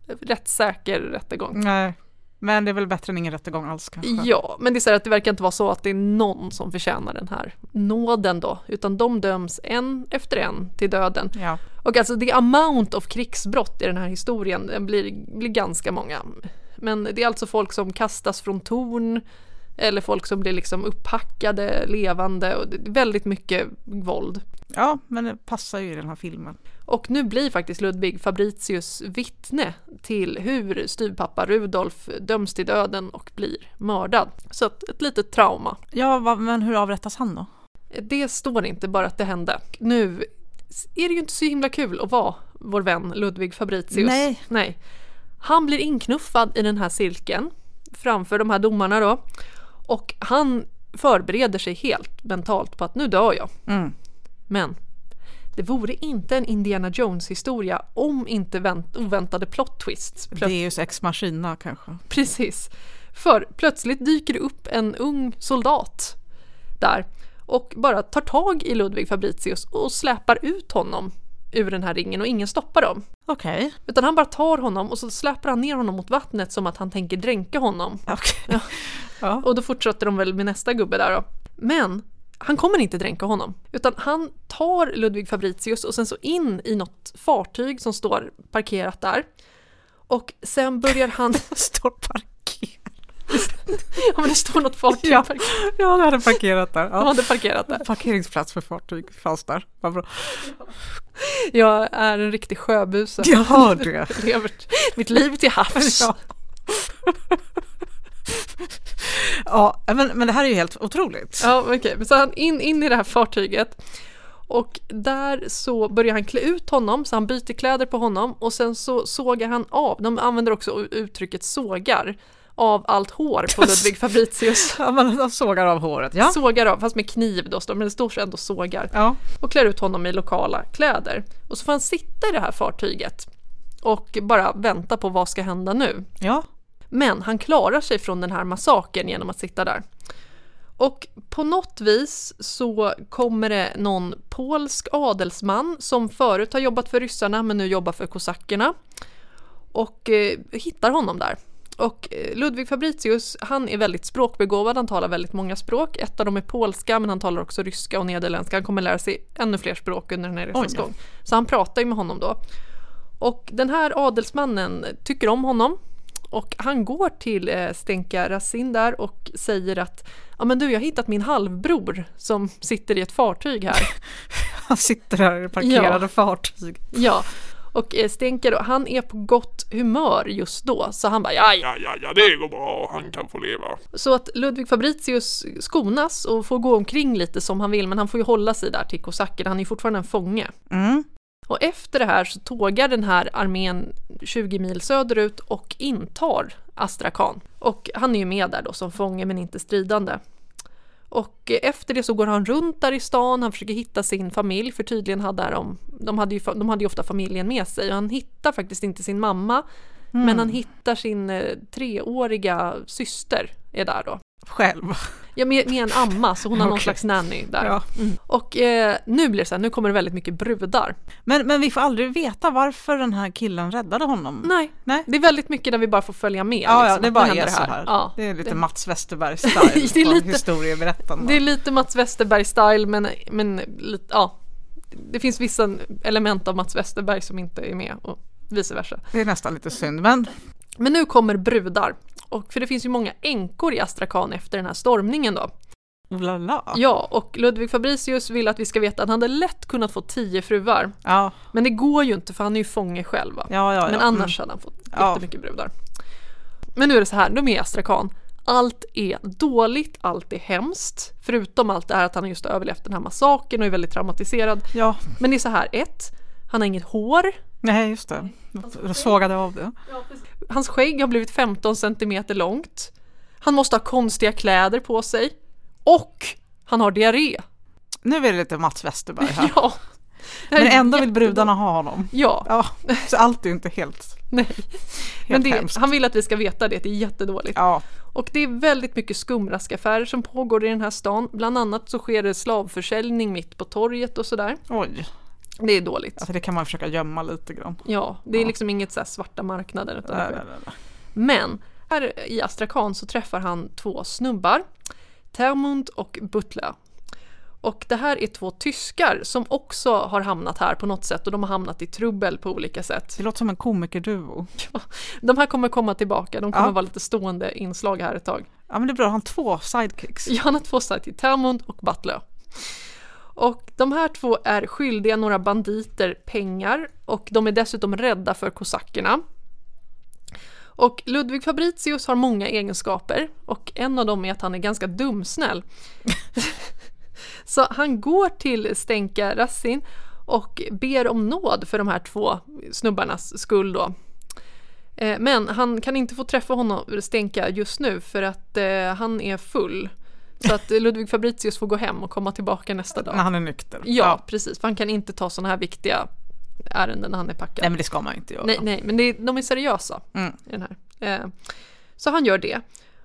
Speaker 1: rättssäker rättegång.
Speaker 2: Nej, men det är väl bättre än ingen rättegång alls kanske.
Speaker 1: Ja, men det är så här att det verkar inte vara så att det är någon som förtjänar den här nåden då, utan de döms en efter en till döden.
Speaker 2: Ja.
Speaker 1: Och alltså the amount of krigsbrott i den här historien den blir, blir ganska många. Men det är alltså folk som kastas från torn, eller folk som blir liksom upphackade levande, och det är väldigt mycket våld.
Speaker 2: ja, men det passar ju i den här filmen.
Speaker 1: Och nu blir faktiskt Ludvig Fabricius vittne till hur styvpappa Rudolf döms till döden och blir mördad. Så att ett litet trauma.
Speaker 2: Ja, va, men hur avrättas han då?
Speaker 1: Det står inte bara att det hände. Nu är det ju inte så himla kul att vara vår vän Ludvig Fabricius.
Speaker 2: Nej.
Speaker 1: Nej. Han blir inknuffad i den här cirkeln framför de här domarna då. Och han förbereder sig helt mentalt på att nu dör jag.
Speaker 2: Mm.
Speaker 1: Men det vore inte en Indiana Jones-historia om inte vänt- oväntade plot twists. Plö-
Speaker 2: Deus ex machina kanske.
Speaker 1: Precis. För plötsligt dyker det upp en ung soldat där och bara tar tag i Ludvig Fabricius och släpar ut honom ur den här ringen och ingen stoppar dem.
Speaker 2: Okej.
Speaker 1: Utan han bara tar honom och så släpar han ner honom mot vattnet som att han tänker dränka honom.
Speaker 2: Okej.
Speaker 1: Och då fortsätter de väl med nästa gubbe där då. Men han kommer inte dränka honom, utan han tar Ludvig Fabricius och sen så in i något fartyg som står parkerat där. Och sen börjar han...
Speaker 2: Står parkerad.
Speaker 1: ja men det står något fartyg
Speaker 2: Ja.
Speaker 1: parkerat.
Speaker 2: Ja, det hade parkerat där.
Speaker 1: De
Speaker 2: Ja.
Speaker 1: hade parkerat där.
Speaker 2: Parkeringsplats för fartyg fanns där. Vad bra.
Speaker 1: Jag är en riktig sjöbuse.
Speaker 2: Jag hör det.
Speaker 1: Lever mitt liv till havs.
Speaker 2: Ja. ja, men, men det här är ju helt otroligt.
Speaker 1: Ja, okej. Men Så han in, in i det här fartyget. Och där så börjar han klä ut honom, så han byter kläder på honom och sen så sågar han av, de använder också u- uttrycket sågar, av allt hår på Ludvig Fabricius.
Speaker 2: Ja, man de sågar av håret. Ja.
Speaker 1: Sågar av, fast med kniv då, står- men det står så ändå sågar.
Speaker 2: ja.
Speaker 1: Och klär ut honom i lokala kläder. Och så får han sitta i det här fartyget och bara vänta på vad ska hända nu.
Speaker 2: Ja.
Speaker 1: Men han klarar sig från den här massakern genom att sitta där. Och på något vis så kommer det någon polsk adelsman som förut har jobbat för ryssarna men nu jobbar för kosackerna och eh, hittar honom där. Och eh, Ludvig Fabricius, han är väldigt språkbegåvad, han talar väldigt många språk. Ett av dem är polska, men han talar också ryska och nederländska. Han kommer lära sig ännu fler språk under den här resans
Speaker 2: Oj då.
Speaker 1: gång. Så han pratar ju med honom då. Och den här adelsmannen tycker om honom och han går till eh, Stenka Rasin där och säger att ja men du, jag har hittat min halvbror som sitter i ett fartyg här.
Speaker 2: Han sitter där i parkerade fartyg.
Speaker 1: ja. Och eh, Stenka då, han är på gott humör just då, så han bara ja, ja.
Speaker 4: Ja, ja, ja, det går bra. Han kan få leva.
Speaker 1: Så att Ludvig Fabricius skonas och får gå omkring lite som han vill, men han får ju hålla sig där till kosacker, han är ju fortfarande en fånge.
Speaker 2: Mm.
Speaker 1: Och efter det här så tågar den här armén 20 mil söderut och intar Astrakhan. Och han är ju med där då som fånge men inte stridande. Och eh, efter det så går han runt där i stan, han försöker hitta sin familj för tydligen hade de, de hade ju, fa- de hade ju ofta familjen med sig och han hittar faktiskt inte sin mamma Men
Speaker 2: Mm.
Speaker 1: han hittar sin eh, treåriga syster är där då.
Speaker 2: Själv.
Speaker 1: Ja, med, med en amma, så hon har någon
Speaker 2: Okej.
Speaker 1: slags nanny där.
Speaker 2: Ja.
Speaker 1: Mm. Och eh, nu blir det så här, nu kommer det väldigt mycket brudar.
Speaker 2: Men, men vi får aldrig veta varför den här killen räddade honom.
Speaker 1: Nej,
Speaker 2: Nej.
Speaker 1: det är väldigt mycket där vi bara får följa med.
Speaker 2: Ja, ja,
Speaker 1: liksom,
Speaker 2: det
Speaker 1: att nu
Speaker 2: bara
Speaker 1: händer
Speaker 2: är så här.
Speaker 1: Ja,
Speaker 2: det är lite
Speaker 1: det-
Speaker 2: Mats Westerberg
Speaker 1: Det är
Speaker 2: style
Speaker 1: lite-
Speaker 2: på historieberättande.
Speaker 1: Det är lite Mats Westerberg-style men, men lite, ja. Det finns vissa element av Mats Westerberg som inte är med och vice versa.
Speaker 2: Det är nästan lite synd, men
Speaker 1: Men nu kommer brudar. Och, för det finns ju många änkor i Astrakhan efter den här stormningen då.
Speaker 2: oh la la.
Speaker 1: Ja, och Ludvig Fabricius vill att vi ska veta att han hade lätt kunnat få tio fruar.
Speaker 2: Ja,
Speaker 1: Men det går ju inte för han är ju fånge själv. Va?
Speaker 2: ja, ja. ja.
Speaker 1: Men
Speaker 2: Mm.
Speaker 1: annars hade han fått
Speaker 2: Ja.
Speaker 1: jättemycket brudar. Men nu är det så här, de är i Astrakhan. Allt är dåligt, allt är hemskt. Förutom allt det här att han har just överlevt den här massakern och är väldigt traumatiserad.
Speaker 2: Ja,
Speaker 1: Men det är så här, ett, han har inget hår.
Speaker 2: nej just det. Jag sågade av det.
Speaker 1: Hans skägg har blivit 15 centimeter långt. Han måste ha konstiga kläder på sig. Och han har diarré.
Speaker 2: Nu är det lite Mats Westerberg här.
Speaker 1: Ja. Det här
Speaker 2: Men
Speaker 1: är
Speaker 2: ändå vill
Speaker 1: jättedå-
Speaker 2: brudarna ha honom.
Speaker 1: Ja,
Speaker 2: Ja, så allt är ju inte helt,
Speaker 1: nej. Men
Speaker 2: helt
Speaker 1: det,
Speaker 2: hemskt.
Speaker 1: han vill att vi ska veta det, det är jättedåligt.
Speaker 2: Ja,
Speaker 1: Och det är väldigt mycket skumraskaffärer som pågår i den här stan. Bland annat så sker det slavförsäljning mitt på torget och sådär.
Speaker 2: oj.
Speaker 1: Det är dåligt.
Speaker 2: Alltså det kan man försöka gömma lite grann. Eh,
Speaker 1: Ja, det är
Speaker 2: Ja.
Speaker 1: liksom inget så här svarta marknader. Utan
Speaker 2: Nej, nej, nej, nej.
Speaker 1: Men här i Astrakhan så träffar han två snubbar, Termund och Butler. Och det här är två tyskar som också har hamnat här på något sätt och de har hamnat i trubbel på olika sätt.
Speaker 2: Det låter som en komikerduo.
Speaker 1: De här kommer komma tillbaka, de kommer
Speaker 2: Ja.
Speaker 1: vara lite stående inslag här ett tag.
Speaker 2: Ja men det är bra, han har två sidekicks.
Speaker 1: Johanna Tvåstad till Termund och Butler. Och de här två är skyldiga några banditer pengar och de är dessutom rädda för kosackerna. Och Ludvig Fabricius har många egenskaper och en av dem är att han är ganska dumsnäll. Så han går till Stenka Rassin och ber om nåd för de här två snubbarnas skull då. Eh, Men han kan inte få träffa honom, Stenka, just nu för att eh, han är full. Så att eh, Ludvig Fabricius får gå hem och komma tillbaka nästa dag.
Speaker 2: När han är nykter.
Speaker 1: Ja, precis. För han kan inte ta sådana här viktiga ärenden när han är packad.
Speaker 2: Nej men det ska man ju inte göra.
Speaker 1: Nej, nej, men det, är- de är seriösa
Speaker 2: Mm.
Speaker 1: i den här. Eh, så han gör det.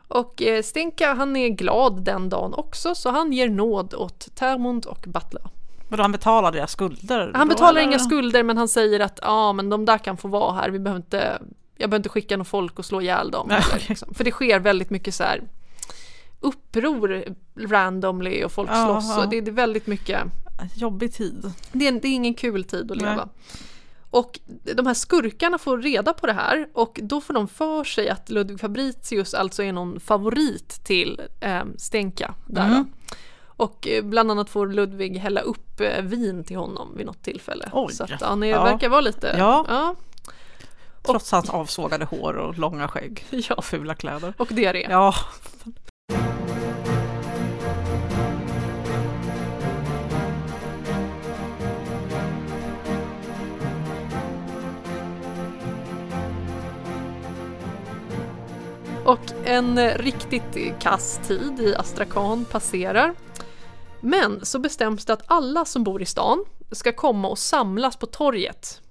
Speaker 1: Och eh, Stenka han är glad den dagen också så han ger nåd åt Termund och Butler.
Speaker 2: Vadå, han betalar deras skulder?
Speaker 1: Han
Speaker 2: då,
Speaker 1: betalar
Speaker 2: eller?
Speaker 1: inga skulder men han säger att ja men de där kan få vara här, vi behöver inte, jag behöver inte skicka någon folk och slå ihjäl dem.
Speaker 2: Nej,
Speaker 1: eller
Speaker 2: okej.
Speaker 1: liksom. För det sker väldigt mycket så här uppror randomly och folk
Speaker 2: Ja,
Speaker 1: slåss
Speaker 2: ja.
Speaker 1: och det, det är väldigt mycket
Speaker 2: Jobbig tid.
Speaker 1: det är, det är ingen kul tid att
Speaker 2: Nej.
Speaker 1: leva. Och de här skurkarna får reda på det här och då får de för sig att Ludvig Fabricius alltså är någon favorit till eh, Stenka. Där
Speaker 2: Mm.
Speaker 1: då. Och eh, bland annat får Ludvig hälla upp eh, vin till honom vid något tillfälle.
Speaker 2: Oj.
Speaker 1: Så att han är,
Speaker 2: Ja.
Speaker 1: verkar vara lite...
Speaker 2: Ja.
Speaker 1: Ja.
Speaker 2: Trots hans avsågade hår och långa skägg.
Speaker 1: ja.
Speaker 2: Och fula kläder.
Speaker 1: Och diarré.
Speaker 2: Ja,
Speaker 1: Och en eh, riktigt kass tid i Astrakhan passerar. Men så bestäms det att alla som bor i stan ska komma och samlas på torget.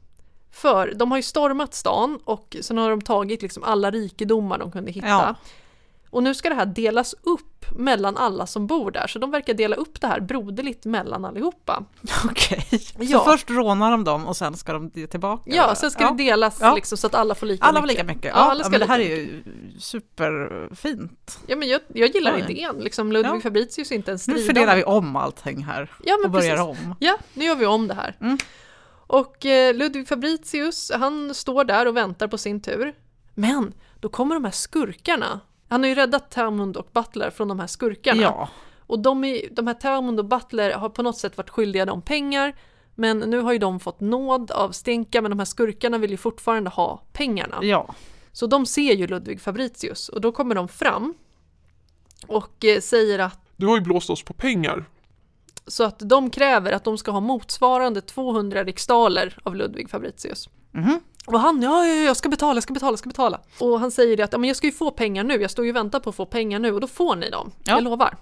Speaker 1: För de har ju stormat stan och sen har de tagit liksom alla rikedomar de kunde hitta.
Speaker 2: Ja.
Speaker 1: Och nu ska det här delas upp mellan alla som bor där. Så de verkar dela upp det här broderligt mellan allihopa.
Speaker 2: okej.
Speaker 1: Ja.
Speaker 2: Så först rånar de dem och sen ska de ge tillbaka?
Speaker 1: Ja, sen ska
Speaker 2: Ja.
Speaker 1: det delas
Speaker 2: Ja.
Speaker 1: liksom, så att alla får lika
Speaker 2: Alla var
Speaker 1: mycket.
Speaker 2: lika mycket.
Speaker 1: Ja,
Speaker 2: Ja,
Speaker 1: alla ska
Speaker 2: men det
Speaker 1: lika
Speaker 2: här är ju superfint.
Speaker 1: Ja, men jag, jag gillar
Speaker 2: Oj.
Speaker 1: idén. Liksom, Ludvig
Speaker 2: Ja.
Speaker 1: Fabricius är inte en stridande.
Speaker 2: Nu fördelar vi om allting här
Speaker 1: ja, men
Speaker 2: och börjar
Speaker 1: precis.
Speaker 2: om.
Speaker 1: Ja, nu gör vi om det här.
Speaker 2: Mm.
Speaker 1: Och eh, Ludvig Fabricius, han står där och väntar på sin tur. Men då kommer de här skurkarna. Han har ju räddat Termund och Butler från de här skurkarna.
Speaker 2: Ja,
Speaker 1: Och de, är, de här Termund och Butler har på något sätt varit skyldiga dem pengar. Men nu har ju de fått nåd av Stenka, men de här skurkarna vill ju fortfarande ha pengarna.
Speaker 2: ja.
Speaker 1: Så de ser ju Ludvig Fabricius och då kommer de fram och eh, säger att
Speaker 4: Du har ju blåst oss på pengar.
Speaker 1: så att de kräver att de ska ha motsvarande 200 riksdaler av Ludvig Fabricius.
Speaker 2: Mhm.
Speaker 1: Och han, ja, ja, ja, jag ska betala, jag ska betala, jag ska betala. Och han säger det att, ja, men jag ska ju få pengar nu, jag står ju och väntar på att få pengar nu och då får ni dem,
Speaker 2: Ja.
Speaker 1: jag lovar.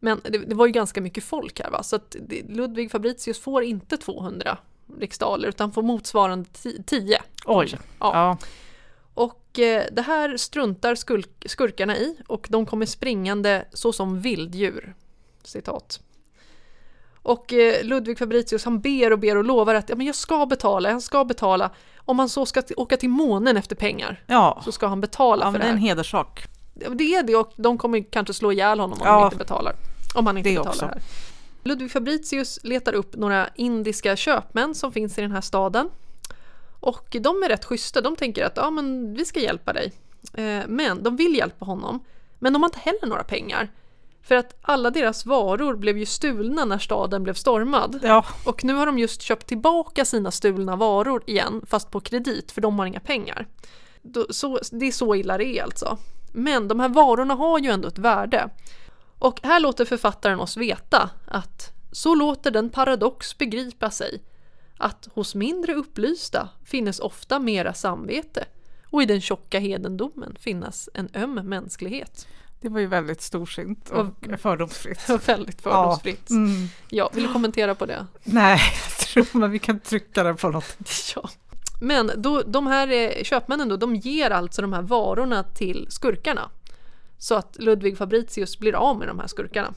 Speaker 1: Men det, det var ju ganska mycket folk här va, så att det, Ludvig Fabricius får inte 200 riksdaler utan får motsvarande ti- 10.
Speaker 2: Oj.
Speaker 1: Ja.
Speaker 2: Ja.
Speaker 1: eh, det här struntar skurk- skurkarna i och de kommer springande såsom vilddjur. Citat. Och eh, Ludvig Fabricius han ber och ber och lovar att ja, men jag ska betala, jag ska betala. Om han så ska t- åka till månen efter pengar
Speaker 2: Ja,
Speaker 1: så ska han betala
Speaker 2: ja
Speaker 1: för
Speaker 2: men
Speaker 1: det
Speaker 2: det är
Speaker 1: här.
Speaker 2: en hederssak.
Speaker 1: Ja, men Det är det och de kommer kanske slå ihjäl honom om
Speaker 2: Ja,
Speaker 1: han inte betalar. Om han inte
Speaker 2: det
Speaker 1: betalar
Speaker 2: också.
Speaker 1: det här. Ludvig Fabricius letar upp några indiska köpmän som finns i den här staden. Och de är rätt schyssta, de tänker att ja, men vi ska hjälpa dig. Eh, Men de vill hjälpa honom, men de har inte heller några pengar. För att alla deras varor blev ju stulna när staden blev stormad.
Speaker 2: Ja,
Speaker 1: Och nu har de just köpt tillbaka sina stulna varor igen, fast på kredit, för de har inga pengar. Då, så, det är så illa det är alltså. Men de här varorna har ju ändå ett värde. Och här låter författaren oss veta att så låter den paradox begripa sig att hos mindre upplysta finnes ofta mera samvete och i den tjocka hedendomen finnas en öm mänsklighet.
Speaker 2: det var ju väldigt storsint och fördomsfritt.
Speaker 1: Väldigt fördomsfritt.
Speaker 2: Ja. Mm.
Speaker 1: Ja, vill du kommentera på det?
Speaker 2: Nej, jag tror man vi kan trycka den på något.
Speaker 1: Ja. Men då, de här eh, köpmännen då, de ger alltså de här varorna till skurkarna. Så att Ludvig Fabricius blir av med de här skurkarna.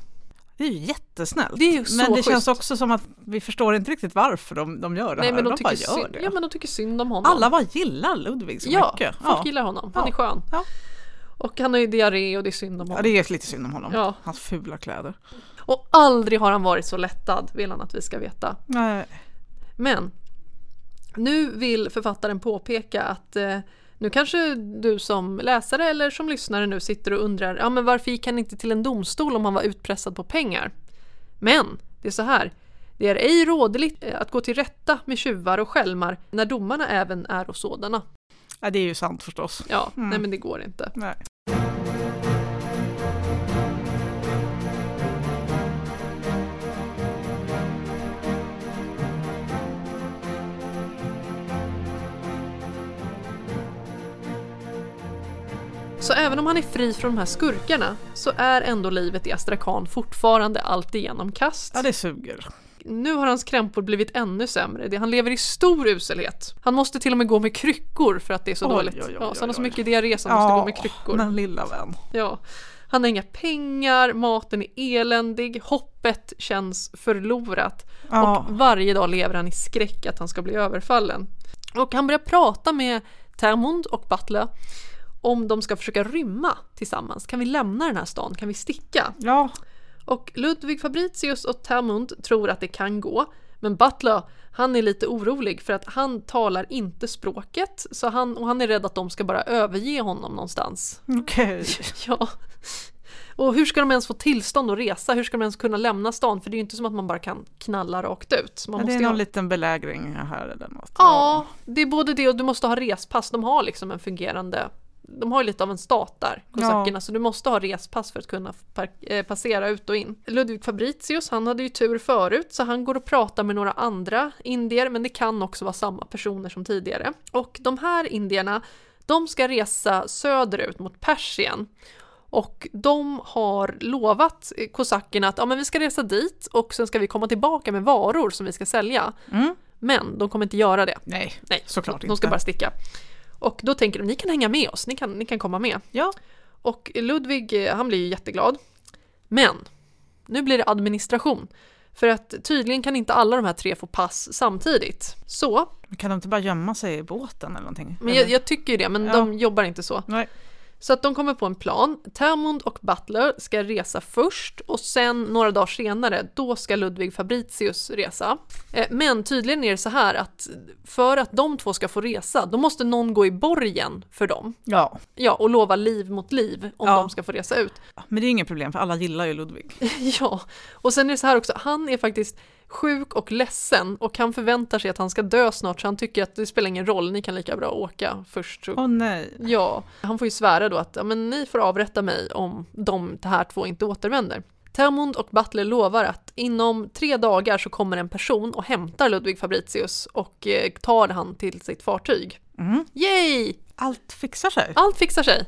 Speaker 2: Det är ju jättesnällt.
Speaker 1: Det är ju så
Speaker 2: men det känns
Speaker 1: schysst.
Speaker 2: också som att vi förstår inte riktigt varför de, de gör det
Speaker 1: Nej
Speaker 2: här.
Speaker 1: men de,
Speaker 2: de bara
Speaker 1: tycker
Speaker 2: gör
Speaker 1: synd,
Speaker 2: det.
Speaker 1: ja, men de tycker synd om honom.
Speaker 2: Alla bara gillar Ludvig så
Speaker 1: ja,
Speaker 2: mycket.
Speaker 1: folk gillar honom. Han
Speaker 2: Ja.
Speaker 1: är skön.
Speaker 2: Ja.
Speaker 1: Och han har ju diarré och det är synd om
Speaker 2: Ja,
Speaker 1: honom.
Speaker 2: det är lite synd om honom.
Speaker 1: Ja.
Speaker 2: Hans fula kläder.
Speaker 1: Och aldrig har han varit så lättad, vill han att vi ska veta.
Speaker 2: Nej.
Speaker 1: Men nu vill författaren påpeka att eh, nu kanske du som läsare eller som lyssnare nu sitter och undrar ja, men varför gick han inte till en domstol om han var utpressad på pengar? Men det är så här. Det är ej rådligt eh, att gå till rätta med tjuvar och skälmar när domarna även är och sådana.
Speaker 2: Ja, det är ju sant förstås.
Speaker 1: Ja, nej men det går inte.
Speaker 2: Nej.
Speaker 1: Så även om han är fri från de här skurkarna så är ändå livet i Astrakan fortfarande alltigenom kast.
Speaker 2: Ja, det suger.
Speaker 1: Nu har hans krämpor blivit ännu sämre. Det- Han lever i stor uselhet. Han måste till och med gå med kryckor för att det är så
Speaker 2: Oj,
Speaker 1: dåligt.
Speaker 2: oj, oj,
Speaker 1: ja, så han har så
Speaker 2: oj, oj.
Speaker 1: mycket diarré som måste
Speaker 2: ja,
Speaker 1: gå med kryckor.
Speaker 2: Men lilla vän.
Speaker 1: Ja. Han har inga pengar, maten är eländig, hoppet känns förlorat.
Speaker 2: Ja.
Speaker 1: Och varje dag lever han i skräck att han ska bli överfallen. Och han börjar prata med Termund och Butler om de ska försöka rymma tillsammans. Kan vi lämna den här stan? Kan vi sticka?
Speaker 2: Ja,
Speaker 1: Och Ludvig Fabricius och Termund tror att det kan gå. Men Butler, han är lite orolig för att han talar inte språket. Så han, och han är rädd att de ska bara överge honom någonstans.
Speaker 2: okej.
Speaker 1: Ja. Och hur ska de ens få tillstånd att resa? Hur ska de ens kunna lämna stan? För det är ju inte som att man bara kan knalla rakt ut. Man
Speaker 2: Ja, det
Speaker 1: måste
Speaker 2: är
Speaker 1: ju
Speaker 2: någon
Speaker 1: ha-
Speaker 2: liten belägring här eller något.
Speaker 1: Ja, det är både det och du måste ha respass. De har liksom en fungerande... De har ju lite av en stat där, kosackerna, så du måste ha respass för att kunna park- eh, passera ut och in. Ludvig Fabricius, han hade ju tur förut, så han går och pratar med några andra indier, men det kan också vara samma personer som tidigare. Och de här indierna, de ska resa söderut mot Persien. Och de har lovat eh, kosackerna att ja, men vi ska resa dit och sen ska vi komma tillbaka med varor som vi ska sälja.
Speaker 2: Mm.
Speaker 1: Men de kommer inte göra det.
Speaker 2: Nej,
Speaker 1: Nej,
Speaker 2: såklart
Speaker 1: de,
Speaker 2: inte.
Speaker 1: de ska bara sticka. Och då tänker de, ni kan hänga med oss, ni kan, ni kan komma med.
Speaker 2: Ja,
Speaker 1: Och Ludvig, eh, han blir ju jätteglad. Men, nu blir det administration. För att tydligen kan inte alla de här tre få pass samtidigt. Så,
Speaker 2: men kan de inte bara gömma sig i båten eller någonting?
Speaker 1: men jag, jag tycker ju det, men
Speaker 2: Ja.
Speaker 1: de jobbar inte så.
Speaker 2: Nej.
Speaker 1: Så att de kommer på en plan. Termund och Butler ska resa först och sen några dagar senare, då ska Ludvig Fabricius resa. Eh, Men tydligen är det så här att för att de två ska få resa, då måste någon gå i borgen för dem.
Speaker 2: Ja,
Speaker 1: Ja, och lova liv mot liv om
Speaker 2: Ja.
Speaker 1: de ska få resa ut.
Speaker 2: men det är inget problem för alla gillar ju Ludvig.
Speaker 1: Ja, och sen är det så här också, han är faktiskt sjuk och ledsen och han förväntar sig att han ska dö snart så han tycker att det spelar ingen roll, ni kan lika bra åka först. Så
Speaker 2: Åh nej.
Speaker 1: Ja, han får ju svära då att ja, men ni får avrätta mig om de det här två inte återvänder. Termund och Butler lovar att inom tre dagar så kommer en person och hämtar Ludvig Fabricius och eh, tar han till sitt fartyg.
Speaker 2: Mm.
Speaker 1: Yay!
Speaker 2: Allt fixar sig.
Speaker 1: Allt fixar sig.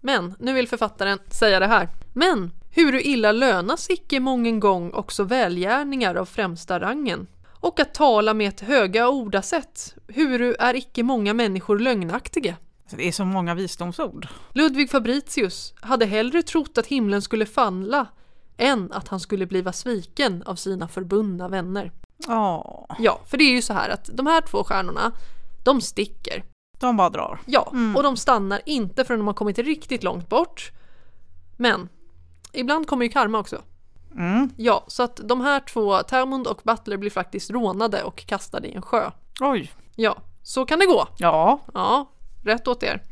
Speaker 1: Men nu vill författaren säga det här. Men huru illa lönas icke mången gång också välgärningar av främsta rangen. Och att tala med ett höga ordasätt, huru är icke många människor lögnaktiga.
Speaker 2: Alltså, det är så många visdomsord.
Speaker 1: Ludvig Fabritius hade hellre trott att himlen skulle falla än att han skulle bliva sviken av sina förbundna vänner.
Speaker 2: Ja,
Speaker 1: Ja, för det är ju så här att de här två stjärnorna, de sticker.
Speaker 2: de bara drar.
Speaker 1: Ja, och de stannar inte förrän de har kommit riktigt långt bort. Men ibland kommer ju karma också.
Speaker 2: Mm.
Speaker 1: Ja, så att de här två, Termund och Butler, blir faktiskt rånade och kastade i en sjö.
Speaker 2: Oj.
Speaker 1: Ja, så kan det gå.
Speaker 2: Ja,
Speaker 1: Ja, rätt åt er.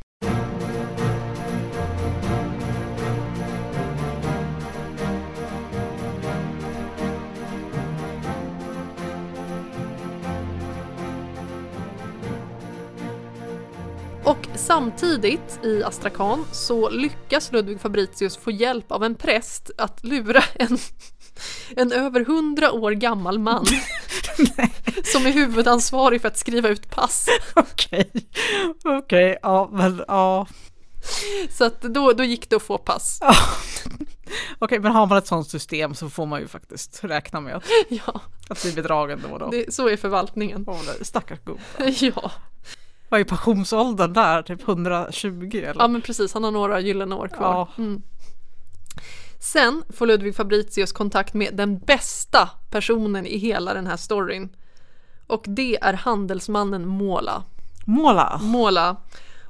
Speaker 1: Och samtidigt i Astrakan så lyckas Ludvig Fabritius få hjälp av en präst att lura en, en över hundra år gammal man som är huvudansvarig för att skriva ut pass.
Speaker 2: okej. Okej, ja, men ja.
Speaker 1: Så att då, då gick det att få pass.
Speaker 2: Ja. Okej, men har man ett sånt system så får man ju faktiskt räkna med att,
Speaker 1: Ja,
Speaker 2: att bli bedragen då och då.
Speaker 1: det, så är förvaltningen.
Speaker 2: Åh, nej, stackars gubbe.
Speaker 1: Ja.
Speaker 2: Vad är pensionsåldern där? Typ 120 eller?
Speaker 1: ja, men precis. Han har några gyllene år kvar.
Speaker 2: Ja.
Speaker 1: Mm. Sen får Ludvig Fabritius kontakt med den bästa personen i hela den här storyn. Och det är handelsmannen Måla.
Speaker 2: Måla.
Speaker 1: Måla.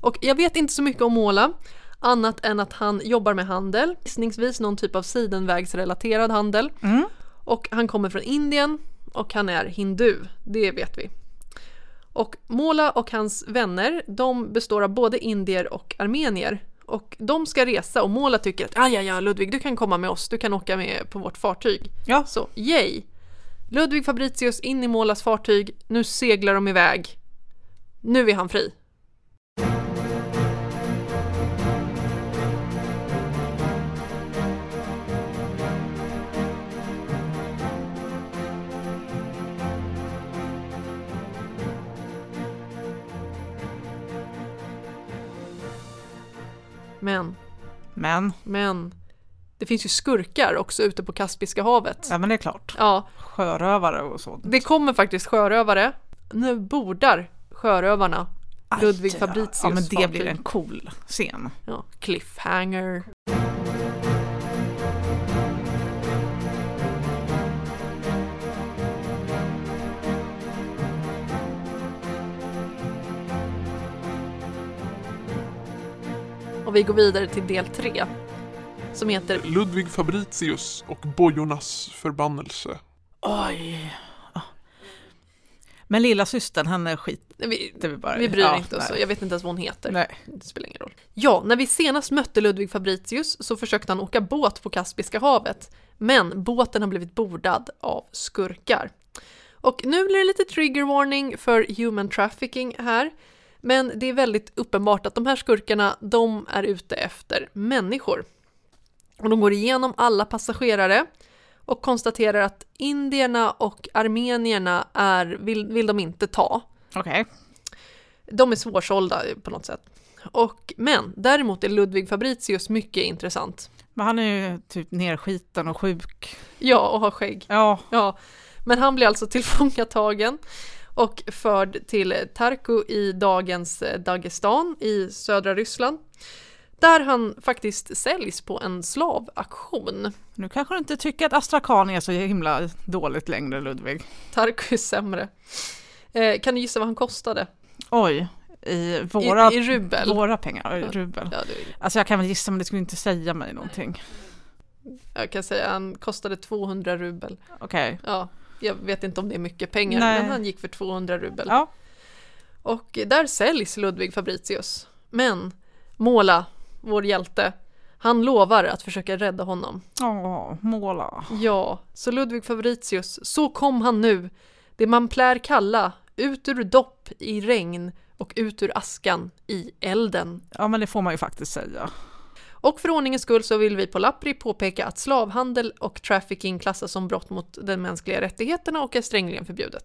Speaker 1: Och jag vet inte så mycket om Måla annat än att han jobbar med handel, gissningsvis någon typ av sidenvägsrelaterad handel. Och han kommer från Indien och han är hindu, det vet vi. Och Måla och hans vänner, de består av både indier och armenier. Och de ska resa och Måla tycker att "Ah, ja, ja, Ludvig, du kan komma med oss, du kan åka med på vårt fartyg.
Speaker 2: Ja.
Speaker 1: Så yay! Ludvig Fabritius in i Målas fartyg, nu seglar de iväg. Nu är han fri. Men,
Speaker 2: Men,
Speaker 1: men, det finns ju skurkar också ute på Kaspiska havet.
Speaker 2: ja men det är klart.
Speaker 1: Ja,
Speaker 2: Sjörövare och sånt.
Speaker 1: det kommer faktiskt sjörövare. Nu bordar sjörövarna Ludvig Fabritius
Speaker 2: Ja, men det
Speaker 1: fartyg.
Speaker 2: blir en cool scen.
Speaker 1: Ja, cliffhanger. Och vi går vidare till del tre som heter
Speaker 4: Ludvig Fabritius och bojornas förbannelse.
Speaker 2: Oj. Men lilla systern, henne skiter
Speaker 1: Vi,
Speaker 2: vi bara i.
Speaker 1: vi bryr
Speaker 2: Ja,
Speaker 1: inte oss,
Speaker 2: nej.
Speaker 1: jag vet inte ens vad hon heter.
Speaker 2: Nej.
Speaker 1: Det spelar ingen roll. Ja, när vi senast mötte Ludvig Fabritius så försökte han åka båt på Kaspiska havet, men båten har blivit bordad av skurkar. Och nu blir det lite trigger warning för human trafficking här, men det är väldigt uppenbart att de här skurkarna, de är ute efter människor. Och de går igenom alla passagerare och konstaterar att indierna och armenierna är, vill, vill de inte ta.
Speaker 2: Okej.
Speaker 1: De är svårsålda på något sätt. Och, men däremot är Ludvig Fabritius mycket intressant.
Speaker 2: Men han är ju typ nerskiten och sjuk.
Speaker 1: Ja, och har skägg.
Speaker 2: Ja,
Speaker 1: Ja. Men han blir alltså tillfångatagen och förd till Tarku i dagens eh, Dagestan i södra Ryssland. Där han faktiskt säljs på en slavauktion.
Speaker 2: nu kanske du inte tycker att Astrakan är så himla dåligt längre, Ludvig.
Speaker 1: Tarku är sämre. Eh, kan du gissa vad han kostade?
Speaker 2: Oj, i våra,
Speaker 1: I, i rubel?
Speaker 2: våra pengar, i rubel.
Speaker 1: Ja, det,
Speaker 2: Alltså jag kan väl gissa men det skulle inte säga mig någonting.
Speaker 1: jag kan säga han kostade 200 rubel.
Speaker 2: Okej.
Speaker 1: Ja, jag vet inte om det är mycket pengar,
Speaker 2: Nej.
Speaker 1: men han gick för 200 rubel.
Speaker 2: Ja.
Speaker 1: Och där säljs Ludvig Fabritius. Men Måla, vår hjälte, han lovar att försöka rädda honom.
Speaker 2: Åh, måla.
Speaker 1: Ja, så Ludvig Fabritius, så kom han nu, det man plär kalla, ut ur dopp i regn och ut ur askan i elden.
Speaker 2: Ja men det får man ju faktiskt säga.
Speaker 1: Och för ordningens skull så vill vi på Lapri påpeka att slavhandel och trafficking klassas som brott mot de mänskliga rättigheterna och är strängligen förbjudet.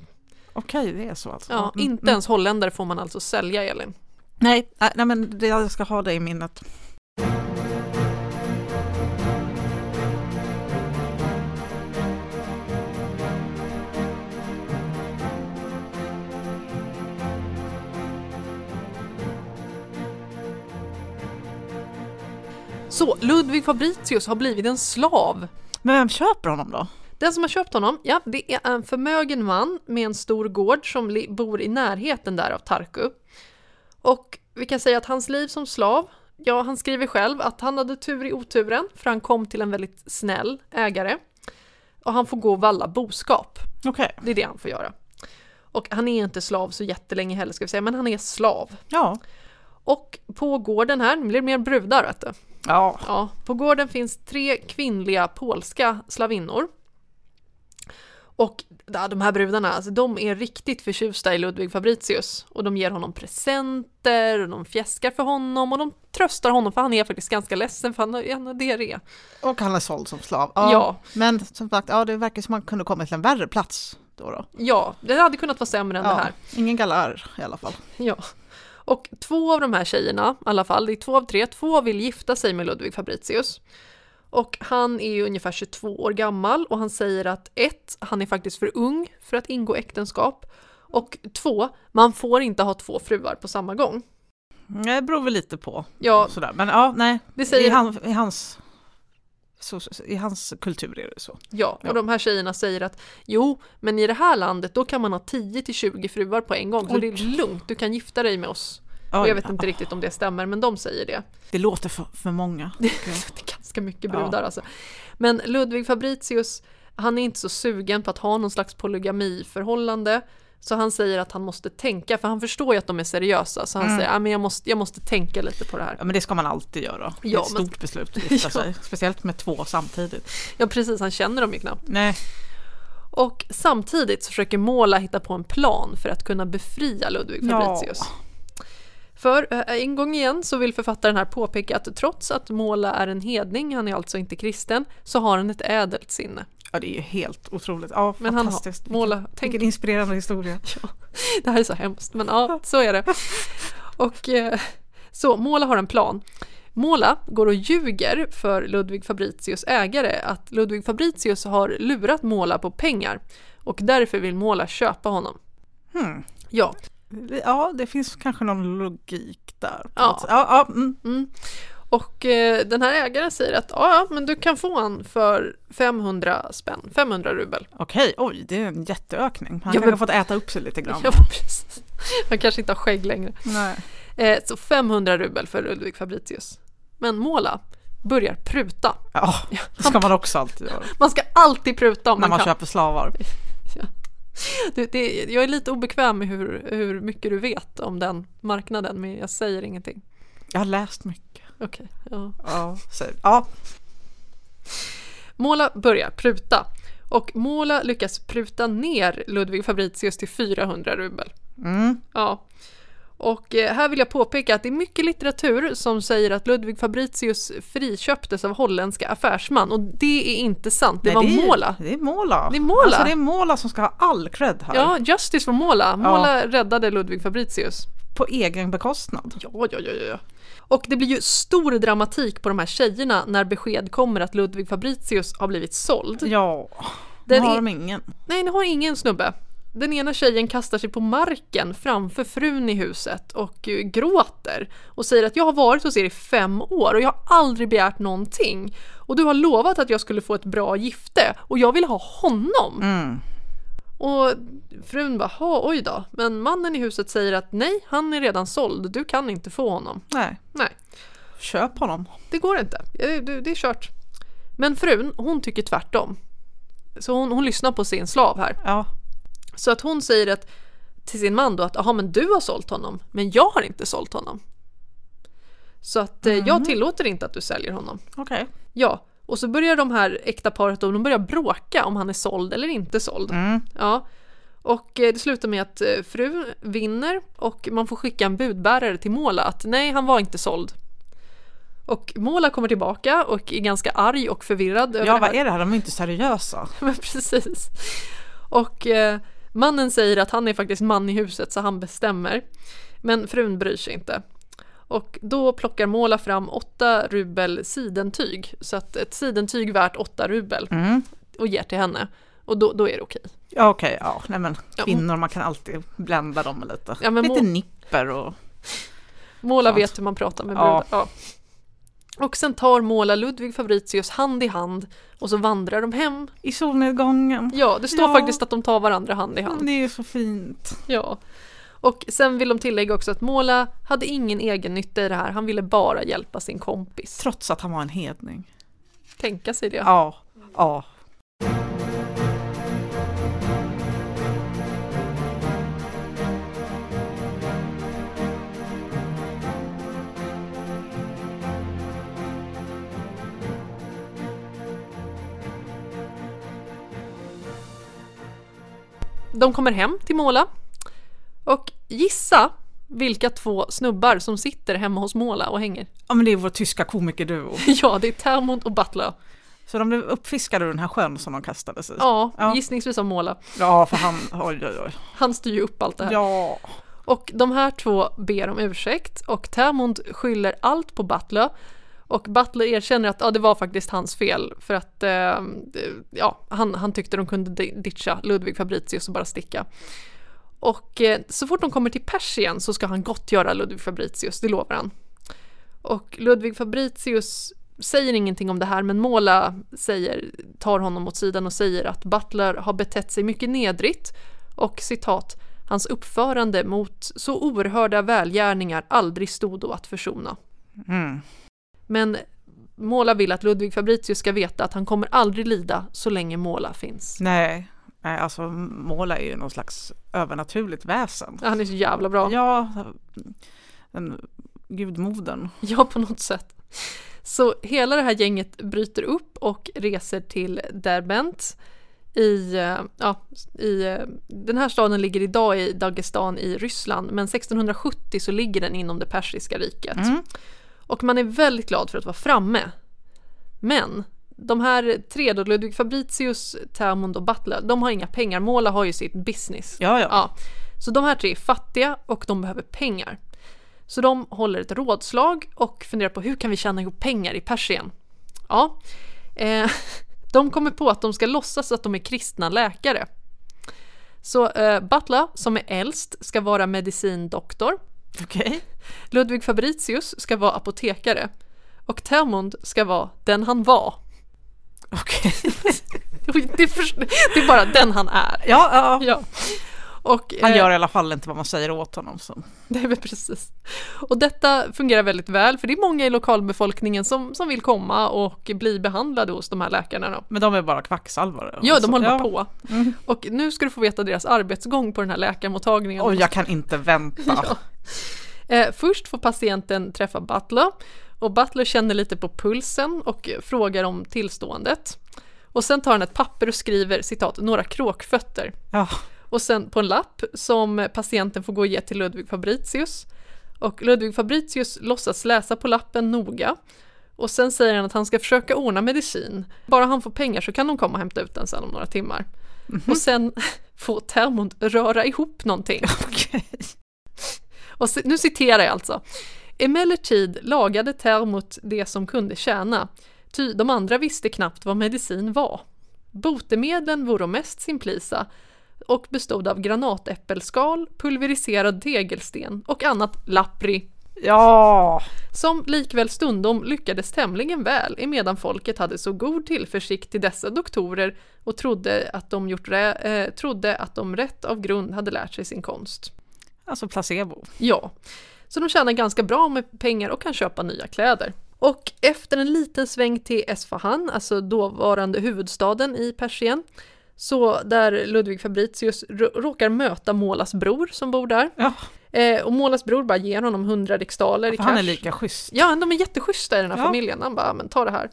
Speaker 2: Okej, det är så alltså.
Speaker 1: Ja,
Speaker 2: Mm,
Speaker 1: inte
Speaker 2: mm.
Speaker 1: ens holländare får man alltså sälja, Elin.
Speaker 2: Nej, äh, nej, nej men det, jag ska ha det i minnet.
Speaker 1: Så Ludvig Fabricius har blivit en slav.
Speaker 2: Men vem köper honom då?
Speaker 1: Den som har köpt honom, ja, det är en förmögen man med en stor gård som li- bor i närheten där av Tarku. Och vi kan säga att hans liv som slav, ja, han skriver själv att han hade tur i oturen, för han kom till en väldigt snäll ägare. Och han får gå och valla boskap.
Speaker 2: Okej.
Speaker 1: Det är det han får göra. Och han är inte slav så jättelänge heller ska vi säga, men han är slav.
Speaker 2: Ja.
Speaker 1: Och på gården här, nu blir det mer brudar vet du.
Speaker 2: Ja.
Speaker 1: Ja, på gården finns tre kvinnliga polska slavinnor. Och ja, de här brudarna, alltså, de är riktigt förtjusta i Ludvig Fabricius. Och de ger honom presenter, och de fjäskar för honom och de tröstar honom för han är faktiskt ganska ledsen för han har, han har diarré.
Speaker 2: Och han är såld som slav.
Speaker 1: Ja.
Speaker 2: Men som sagt, ja, det verkar som att han kunde kommit till en värre plats då. då.
Speaker 1: Ja, det hade kunnat vara sämre än det här.
Speaker 2: Ingen galar i alla fall.
Speaker 1: Ja. Och två av de här tjejerna, i alla fall, det är två av tre, två vill gifta sig med Ludvig Fabricius. Och han är ju ungefär 22 år gammal och han säger att ett, han är faktiskt för ung för att ingå äktenskap. Och två, man får inte ha två fruar på samma gång.
Speaker 2: Mm, Det beror väl lite på.
Speaker 1: Ja,
Speaker 2: Sådär. Men ja, nej.
Speaker 1: Det säger-
Speaker 2: I, han, i, hans, så, så- I hans kultur är det så.
Speaker 1: ja, och de här tjejerna säger att jo, men i det här landet då kan man ha 10 till 20 fruar på en gång, så
Speaker 2: Oj.
Speaker 1: det är lugnt, du kan gifta dig med oss.
Speaker 2: Oj,
Speaker 1: Och jag vet
Speaker 2: ja.
Speaker 1: inte riktigt om det stämmer, men de säger det.
Speaker 2: Det låter för, för många.
Speaker 1: det är ganska mycket
Speaker 2: Ja.
Speaker 1: brudar alltså. Men Ludvig Fabricius, han är inte så sugen på att ha någon slags polygamiförhållande. Så han säger att han måste tänka, för han förstår ju att de är seriösa. Så han säger, "Ah, men jag, måste, jag måste tänka lite på det här.
Speaker 2: Mm. Ja, men det ska man alltid göra. Det är
Speaker 1: Ja,
Speaker 2: ett
Speaker 1: men-
Speaker 2: stort beslut att gifta
Speaker 1: Ja.
Speaker 2: sig. Speciellt med två samtidigt.
Speaker 1: Ja precis, han känner dem ju knappt.
Speaker 2: Nej.
Speaker 1: Och samtidigt så försöker Måla hitta på en plan för att kunna befria Ludvig
Speaker 2: Ja.
Speaker 1: Fabricius. För eh, en gång igen så vill författaren här påpeka att trots att Måla är en hedning, han är alltså inte kristen, så har han ett ädelt sinne.
Speaker 2: Ja, det är ju helt otroligt. Ja,
Speaker 1: Men han
Speaker 2: fantastiskt.
Speaker 1: har Måla, tänk
Speaker 2: Vilken inspirerande historia.
Speaker 1: Det här är så hemskt, men ja, så är det. Och eh, så, Måla har en plan. Måla går och ljuger för Ludvig Fabricius ägare att Ludvig Fabricius har lurat Måla på pengar och därför vill Måla köpa honom.
Speaker 2: Hmm.
Speaker 1: Ja,
Speaker 2: Ja, det finns kanske någon logik där. på
Speaker 1: Mm. Ja.
Speaker 2: något sätt. ja, ja mm.
Speaker 1: och eh, den här ägaren säger att ja, ja, men du kan få han för 500 spänn, 500 rubel.
Speaker 2: Okej, oj, det är en jätteökning. Han
Speaker 1: Ja,
Speaker 2: kanske
Speaker 1: men-
Speaker 2: har fått äta upp sig lite grann.
Speaker 1: Ja, precis. Han kanske inte har skägg längre.
Speaker 2: Nej.
Speaker 1: Eh, så 500 rubel för Ludvig Fabricius. Men Måla börjar pruta.
Speaker 2: Ja, det ska man också alltid göra.
Speaker 1: Man ska alltid pruta om
Speaker 2: när
Speaker 1: man,
Speaker 2: man
Speaker 1: kan.
Speaker 2: köper slavar.
Speaker 1: Du, det, jag är lite obekväm med hur, hur mycket du vet om den marknaden, men jag säger ingenting.
Speaker 2: Jag har läst mycket.
Speaker 1: Okej. ja.
Speaker 2: Ja, säg. ja.
Speaker 1: Måla börjar pruta. Och Måla lyckas pruta ner Ludvig Fabricius till 400 rubel.
Speaker 2: Mm.
Speaker 1: Ja. Och eh, här vill jag påpeka att det är mycket litteratur som säger att Ludvig Fabricius friköptes av holländska affärsman och det är inte sant, det
Speaker 2: Nej,
Speaker 1: var
Speaker 2: är-
Speaker 1: Måla.
Speaker 2: Det är Måla.
Speaker 1: Det är Måla.
Speaker 2: Alltså, det är Måla som ska ha all cred här.
Speaker 1: Ja, justice för Måla. Måla räddade Ludvig Fabricius.
Speaker 2: På egen bekostnad.
Speaker 1: Ja, ja, ja, ja, ja. Och det blir ju stor dramatik på de här tjejerna när besked kommer att Ludvig Fabricius har blivit såld.
Speaker 2: Ja,
Speaker 1: Den
Speaker 2: den har
Speaker 1: är-
Speaker 2: de ingen.
Speaker 1: Nej, det har ingen snubbe. Den ena tjejen kastar sig på marken framför frun i huset och eh, gråter och säger att jag har varit hos er i fem år och jag har aldrig begärt någonting. Och du har lovat att jag skulle få ett bra gifte och jag vill ha honom.
Speaker 2: Mm.
Speaker 1: Och frun bara, "Ha, oj då. Men mannen i huset säger att nej, han är redan såld, du kan inte få honom.
Speaker 2: Nej,
Speaker 1: Nej.
Speaker 2: köp honom.
Speaker 1: det går inte. Det, det, det är kört. Men frun, hon tycker tvärtom. Så hon, hon lyssnar på sin slav här.
Speaker 2: Ja,
Speaker 1: Så att hon säger att, till sin man då att aha, men du har sålt honom, men jag har inte sålt honom. Så att eh, jag tillåter inte att du säljer honom.
Speaker 2: okej.
Speaker 1: Ja, och så börjar de här äkta paret då, de börjar bråka om han är såld eller inte såld.
Speaker 2: Mm.
Speaker 1: Ja. Och eh, det slutar med att eh, fru vinner och man får skicka en budbärare till Måla att nej, han var inte såld. Och Måla kommer tillbaka och är ganska arg och förvirrad. över
Speaker 2: Ja,
Speaker 1: det
Speaker 2: vad
Speaker 1: här.
Speaker 2: är det här? De är inte seriösa.
Speaker 1: Men precis. Och eh, mannen säger att han är faktiskt man i huset så han bestämmer. Men frun bryr sig inte. Och då plockar Måla fram åtta rubel sidentyg. Så att ett sidentyg värt åtta rubel
Speaker 2: Mm.
Speaker 1: och ger till henne. Och då, då är det okej.
Speaker 2: Ja, okej, ja. Nej, men
Speaker 1: Ja,
Speaker 2: kvinnor, man kan alltid blända dem lite.
Speaker 1: Ja, men
Speaker 2: lite
Speaker 1: må-
Speaker 2: nipper och...
Speaker 1: Måla
Speaker 2: Sant.
Speaker 1: vet hur man pratar med brudar.
Speaker 2: Ja.
Speaker 1: Ja. Och sen tar Måla Ludvig Fabricius hand i hand och så vandrar de hem.
Speaker 2: I solnedgången.
Speaker 1: Ja, det står
Speaker 2: Ja.
Speaker 1: faktiskt att de tar varandra hand i hand.
Speaker 2: Det är så fint.
Speaker 1: Ja. Och sen vill de tillägga också att Måla hade ingen egen nytta i det här. Han ville bara hjälpa sin kompis.
Speaker 2: Trots att han var en hedning.
Speaker 1: Tänka sig det.
Speaker 2: Ja. Ja.
Speaker 1: De kommer hem till Måla. Och gissa vilka två snubbar som sitter hemma hos Måla och hänger.
Speaker 2: Ja men det är vår tyska komikerduo.
Speaker 1: Ja, det är Termont och Butler.
Speaker 2: Så de blev uppfiskade ur den här sjön som de kastade sig i.
Speaker 1: Ja,
Speaker 2: Ja.
Speaker 1: gissningsvis av Måla.
Speaker 2: ja för han, oj oj oj.
Speaker 1: Han styr ju upp allt det här.
Speaker 2: Ja.
Speaker 1: Och de här två ber om ursäkt och Termond skyller allt på Butler. Och Butler erkänner att ja, det var faktiskt hans fel för att eh, det- ja, han, han tyckte de kunde di- ditcha Ludvig Fabricius och bara sticka. Och eh, så fort de kommer till Persien så ska han gottgöra Ludvig Fabricius, det lovar han. Och Ludvig Fabricius säger ingenting om det här men Måla säger, tar honom åt sidan och säger att Butler har betett sig mycket nedrigt och citat Hans uppförande mot så oerhörda välgärningar aldrig stod då att försona.
Speaker 2: Mm.
Speaker 1: Men Måla vill att Ludvig Fabricius ska veta att han kommer aldrig lida så länge Måla finns.
Speaker 2: Nej. Nej, alltså Måla är ju någon slags övernaturligt väsen.
Speaker 1: Han är så jävla bra.
Speaker 2: Ja, den gudmodern.
Speaker 1: Ja, på något sätt. Så hela det här gänget bryter upp och reser till Derbent. I, eh, ja, i, eh, den här staden ligger idag i Dagestan i Ryssland men 1670 så ligger den inom det persiska riket.
Speaker 2: Mm.
Speaker 1: Och man är väldigt glad för att vara framme. Men de här tre då, Ludvig Fabricius, Termund och Butler, de har inga pengar. Måla har ju sitt business.
Speaker 2: Ja, ja.
Speaker 1: Ja. Så de här tre är fattiga och de behöver pengar. Så de håller ett rådslag och funderar på hur kan vi tjäna ihop pengar i Persien? Ja, eh, de kommer på att de ska låtsas att de är kristna läkare. Så eh, Butler, som är äldst, ska vara medicindoktor.
Speaker 2: Okej.
Speaker 1: Ludvig Fabricius ska vara apotekare. Och Termund ska vara den han var.
Speaker 2: Okej.
Speaker 1: Det är, förs- det är bara den han är.
Speaker 2: Ja, ja.
Speaker 1: Ja. Och,
Speaker 2: Han
Speaker 1: eh,
Speaker 2: gör i alla fall inte vad man säger åt honom. Så.
Speaker 1: Det är väl precis. Och detta fungerar väldigt väl för det är många i lokalbefolkningen som, som vill komma och bli behandlade hos de här läkarna. Då.
Speaker 2: Men de är bara kvacksalvare.
Speaker 1: Ja, de
Speaker 2: Så-
Speaker 1: håller
Speaker 2: ja. Mm.
Speaker 1: bara på. Och nu ska du få veta deras arbetsgång på den här läkarmottagningen.
Speaker 2: Oj, jag kan inte vänta.
Speaker 1: Eh, först får patienten träffa Butler och Butler känner lite på pulsen och frågar om tillståndet. Och sen tar han ett papper och skriver citat “några kråkfötter”
Speaker 2: Ja.
Speaker 1: och sen på en lapp som patienten får gå och ge till Ludvig Fabricius. Och Ludvig Fabricius låtsas läsa på lappen noga och sen säger han att han ska försöka ordna medicin. Bara han får pengar så kan de komma och hämta ut den sen om några timmar. Och sen får Termond röra ihop någonting.
Speaker 2: Okej.
Speaker 1: Och se- nu citerar jag alltså. Emellertid lagade Termot det som kunde tjäna, ty de andra visste knappt vad medicin var. Botemedlen vore mest simplisa och bestod av granatäppelskal, pulveriserad tegelsten och annat lappri,
Speaker 2: Ja.
Speaker 1: som likväl stundom lyckades tämligen väl emedan folket hade så god tillförsikt till dessa doktorer och trodde att de, gjort rä- eh, trodde att de rätt av grund hade lärt sig sin konst.
Speaker 2: Alltså placebo.
Speaker 1: Ja, så de tjänar ganska bra med pengar och kan köpa nya kläder. Och efter en liten sväng till Esfahan, alltså dåvarande huvudstaden i Persien, så där Ludvig Fabricius r- råkar möta Målas bror som bor där.
Speaker 2: Ja,
Speaker 1: Eh, och Målas bror bara ger honom 100 riksdaler i
Speaker 2: för
Speaker 1: cash.
Speaker 2: han är lika schysst.
Speaker 1: Ja, de är jätteschyssta i den här
Speaker 2: Ja.
Speaker 1: familjen. Han bara, men ta det här.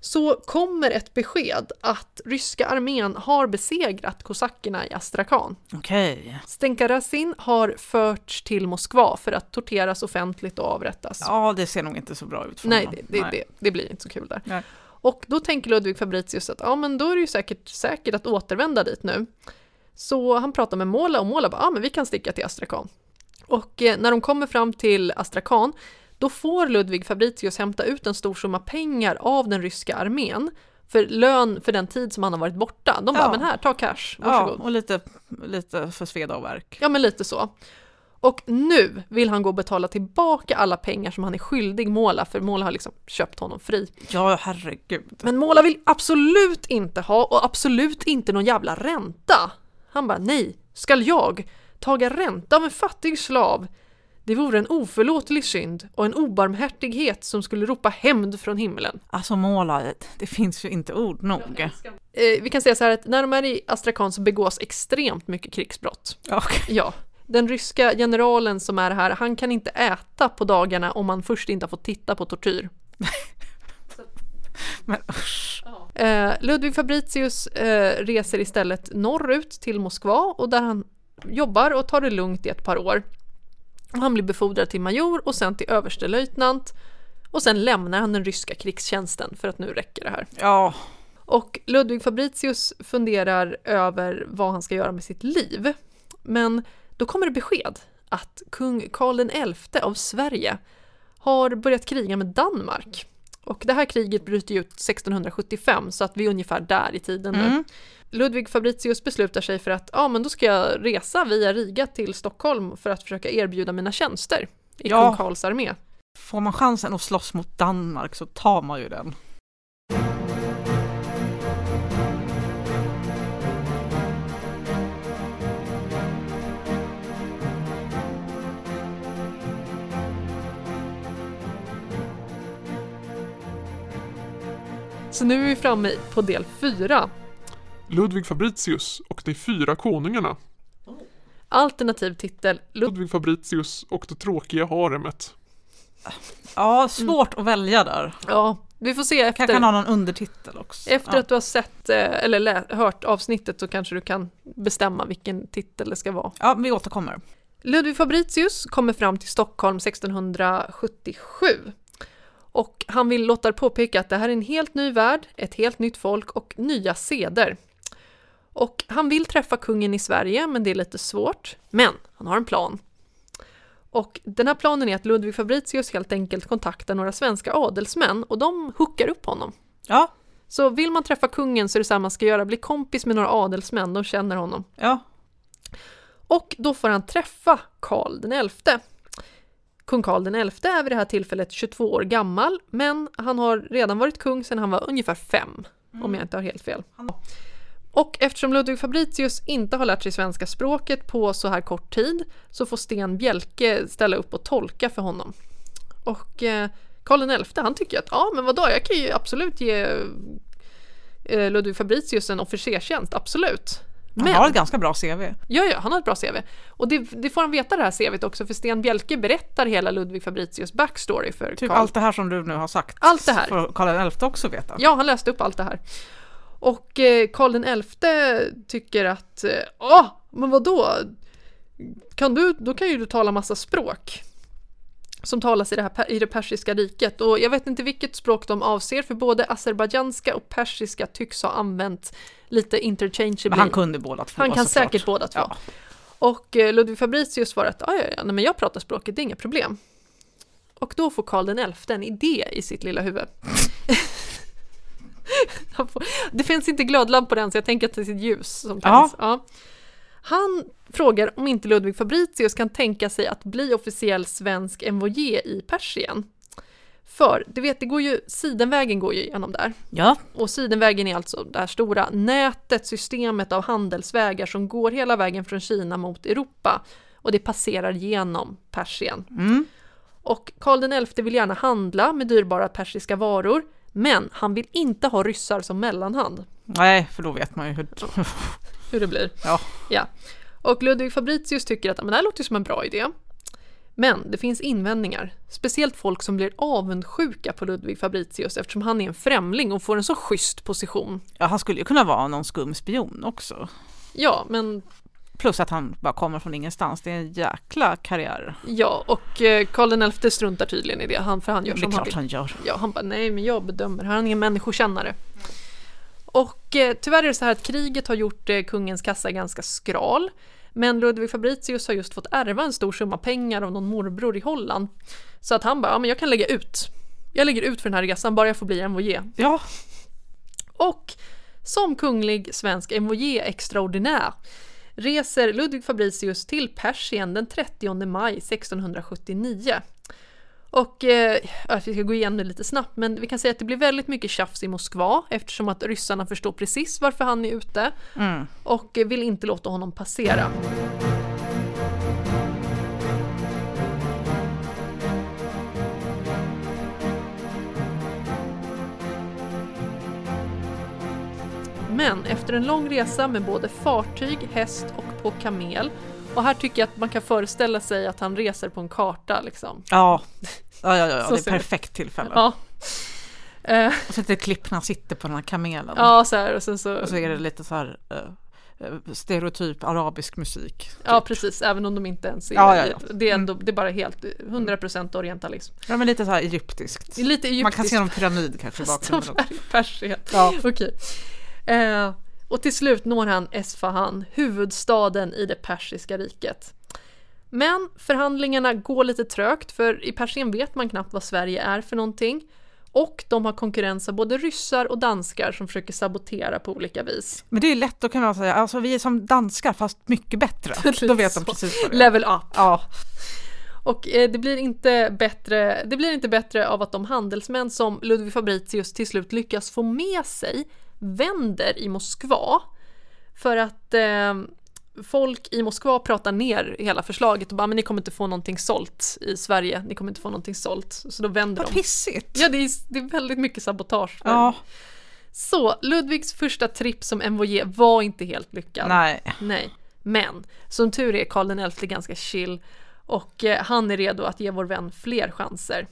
Speaker 1: Så kommer ett besked att ryska armén har besegrat kosackerna i Astrakhan.
Speaker 2: Okej.
Speaker 1: Stenkarasin har förts till Moskva för att torteras offentligt och avrättas.
Speaker 2: Ja, det ser nog inte så bra ut för
Speaker 1: Nej,
Speaker 2: honom.
Speaker 1: det, det, Det, det blir inte så kul där.
Speaker 2: Nej.
Speaker 1: Och då tänker Ludvig Fabricius att ja, men då är det ju säkert, säkert att återvända dit nu. Så han pratar med Måla och Måla bara, ja men vi kan sticka till Astrakhan. Och eh, när de kommer fram till Astrakhan, då får Ludvig Fabricius hämta ut en stor summa pengar av den ryska armén för lön för den tid som han har varit borta. De bara,
Speaker 2: Ja.
Speaker 1: men här, ta cash,
Speaker 2: Ja,
Speaker 1: varsågod.
Speaker 2: och lite, lite för sveda och värk.
Speaker 1: Ja, men lite så. Och nu vill han gå och betala tillbaka alla pengar som han är skyldig Måla, för Måla har liksom köpt honom fri.
Speaker 2: Ja, herregud.
Speaker 1: Men Måla vill absolut inte ha och absolut inte någon jävla ränta. Han bara nej, skall jag taga ränta av en fattig slav? Det vore en oförlåtlig synd och en obarmhärtighet som skulle ropa hämnd från himlen.
Speaker 2: Alltså måla, det finns ju inte ord nog.
Speaker 1: Eh, vi kan säga så här att när de är i Astrakhan så begås extremt mycket krigsbrott.
Speaker 2: Och
Speaker 1: Ja, den ryska generalen som är här, han kan inte äta på dagarna om han först inte har fått titta på tortyr.
Speaker 2: Men usch.
Speaker 1: Eh, Ludwig Fabricius eh, reser istället norrut till Moskva och där han jobbar och tar det lugnt i ett par år. Och Han blir befordrad till major och sen till överstelöjtnant och sen lämnar han den ryska krigstjänsten för att nu räcker det här.
Speaker 2: Ja,
Speaker 1: Och Ludwig Fabricius funderar över vad han ska göra med sitt liv. Men då kommer det besked att kung Karl XI av Sverige har börjat kriga med Danmark. Och det här kriget bryter ut 1675 så att vi är ungefär där i tiden
Speaker 2: Mm.
Speaker 1: nu. Ludwig Fabricius beslutar sig för att ja, men då ska jag resa via Riga till Stockholm för att försöka erbjuda mina tjänster i
Speaker 2: Ja.
Speaker 1: kung Karls armé.
Speaker 2: får man chansen att slåss mot Danmark så tar man ju den.
Speaker 1: Så nu är vi framme på del fyra.
Speaker 4: Ludvig Fabricius och de fyra konungarna.
Speaker 1: Alternativ titel Ludwig
Speaker 4: Ludvig Fabricius och det tråkiga haremet.
Speaker 2: Ja, svårt att välja där.
Speaker 1: Ja, vi får se Mm. efter.
Speaker 2: Jag kan ha någon undertitel också.
Speaker 1: Efter
Speaker 2: ja.
Speaker 1: att du har sett eh, eller lä- hört avsnittet så kanske du kan bestämma vilken titel det ska vara.
Speaker 2: ja, vi återkommer.
Speaker 1: Ludwig Fabricius kommer fram till Stockholm 1677 och han vill låta påpeka att det här är en helt ny värld, ett helt nytt folk och nya seder. Och han vill träffa kungen i Sverige, men det är lite svårt. Men han har en plan. Och den här planen är att Ludwig Fabricius helt enkelt kontaktar några svenska adelsmän och de hookar upp honom.
Speaker 2: Ja,
Speaker 1: Så vill man träffa kungen så är det samma man ska göra, bli kompis med några adelsmän, de känner honom.
Speaker 2: ja.
Speaker 1: Och då får han träffa Karl den XI. Kung Karl den XI är vid det här tillfället 22 år gammal, men han har redan varit kung sedan han var ungefär fem, om jag inte har helt fel. Och eftersom Ludwig Fabricius inte har lärt sig svenska språket på så här kort tid så får Sten Bjelke ställa upp och tolka för honom. Och eh, Karl XI han tycker att ja men vadå jag kan ju absolut ge eh, Ludwig Fabricius en officerstjänst, absolut.
Speaker 2: Han har ett ganska bra CV.
Speaker 1: Ja, ja, han har ett bra CV. Och det, det får han veta det här CVt också, för Sten Bjelke berättar hela Ludvig Fabricius backstory för
Speaker 2: Typ
Speaker 1: Karl.
Speaker 2: allt det här som du nu har sagt.
Speaker 1: Allt det här.
Speaker 2: Får Karl XI också veta.
Speaker 1: Ja, han läste upp allt det här. Och eh, Karl den XI tycker att, eh, åh, men vadå? Kan du, då kan ju du tala massa språk som talas i det, här, per- i det persiska riket. Och jag vet inte vilket språk de avser, för både azerbajdzjanska och persiska tycks ha använt lite interchangeably.
Speaker 2: Men han kunde båda två
Speaker 1: Han kan
Speaker 2: såklart.
Speaker 1: säkert båda två.
Speaker 2: Ja.
Speaker 1: Och eh, Ludvig Fabricius svarar att "Ja, ja, ja, nej, men jag pratar språket, det är inga problem. Och då får Karl XI en idé i sitt lilla huvud. Han får- det finns inte glödlampor än så jag tänker att det är sitt ljus som tänds. Ja. Han frågar om inte Ludvig Fabricius kan tänka sig att bli officiell svensk envoyé i Persien. För du vet, det går ju, sidenvägen går ju igenom där.
Speaker 2: Ja,
Speaker 1: Och Sidenvägen är alltså det här stora nätet, systemet av handelsvägar som går hela vägen från Kina mot Europa och det passerar genom Persien.
Speaker 2: Mm.
Speaker 1: Och Karl XI vill gärna handla med dyrbara persiska varor men han vill inte ha ryssar som mellanhand.
Speaker 2: nej, för då vet man ju hur...
Speaker 1: Hur det blir.
Speaker 2: Ja.
Speaker 1: Ja. Och Ludwig Fabricius tycker att "Ja, men det här låter ju som en bra idé. Men det finns invändningar. Speciellt folk som blir avundsjuka på Ludwig Fabricius eftersom han är en främling och får en så schysst position.
Speaker 2: ja, han skulle ju kunna vara någon skum spion också.
Speaker 1: Ja, men
Speaker 2: Plus att han bara kommer från ingenstans. Det är en jäkla karriär.
Speaker 1: Ja, och eh, Karl XI struntar tydligen i det, han, för han gör
Speaker 2: Det är
Speaker 1: som han
Speaker 2: klart
Speaker 1: vill.
Speaker 2: han gör.
Speaker 1: Ja, han bara, nej men jag bedömer, han är ingen människokännare. Och eh, tyvärr är det så här att kriget har gjort eh, kungens kassa ganska skral. Men Ludwig Fabricius har just fått ärva en stor summa pengar av någon morbror i Holland. Så att han bara, ja men jag kan lägga ut. Jag lägger ut för den här resan, bara jag får bli envoyé.
Speaker 2: Ja,
Speaker 1: Och som kunglig svensk envoyé extraordinär reser Ludvig Fabricius till Persien den 30 maj 1679. Och eh, ja, vi ska gå igenom det lite snabbt men vi kan säga att det blir väldigt mycket tjafs i Moskva eftersom att ryssarna förstår precis varför han är ute
Speaker 2: Mm.
Speaker 1: och eh, vill inte låta honom passera. Men efter en lång resa med både fartyg, häst och på kamel och här tycker jag att man kan föreställa sig att han reser på en karta liksom.
Speaker 2: Ja, ja, ja, ja,
Speaker 1: Så
Speaker 2: det är
Speaker 1: ser det.
Speaker 2: perfekt tillfälle.
Speaker 1: Ja. Eh,
Speaker 2: Och så ett klipp när han sitter på den här kamelen.
Speaker 1: ja, så här och sen så...
Speaker 2: Och så är det lite så här eh, eh, stereotyp arabisk musik. Typ.
Speaker 1: Ja, precis, även om de inte ens är...
Speaker 2: Ja, ja, ja. Mm.
Speaker 1: Det, är ändå, det är bara helt 100% orientalism.
Speaker 2: Ja, men lite så här egyptiskt.
Speaker 1: liksom. Det är lite egyptiskt.
Speaker 2: Man kan se någon pyramid kanske i
Speaker 1: Fast de
Speaker 2: bakgrunden.
Speaker 1: är i Persien.
Speaker 2: Ja.
Speaker 1: Okej. Eh, och till slut når han Esfahan, huvudstaden i det persiska riket. Men förhandlingarna går lite trögt för i Persien vet man knappt vad Sverige är för någonting. Och de har konkurrens av både ryssar och danskar som försöker sabotera på olika vis.
Speaker 2: Men det är lätt, då kan man säga, alltså vi är som danskar fast mycket bättre. Då vet de
Speaker 1: Så.
Speaker 2: precis vad det är.
Speaker 1: Level up!
Speaker 2: Ja,
Speaker 1: Och eh, det blir, inte bättre, det blir inte bättre av att de handelsmän som Ludvig Fabricius till slut lyckas få med sig vänder i Moskva. För att eh, folk i Moskva pratar ner hela förslaget och bara men ni kommer inte få någonting sålt i Sverige, ni kommer inte få någonting sålt. Så då vänder
Speaker 2: vad
Speaker 1: de.
Speaker 2: pissigt.
Speaker 1: Ja, det är, det är väldigt mycket sabotage.
Speaker 2: Ja,
Speaker 1: Så Ludvigs första tripp som envoyé var inte helt lyckad.
Speaker 2: nej.
Speaker 1: Nej, men som tur är Karl XI ganska chill och eh, han är redo att ge vår vän fler chanser.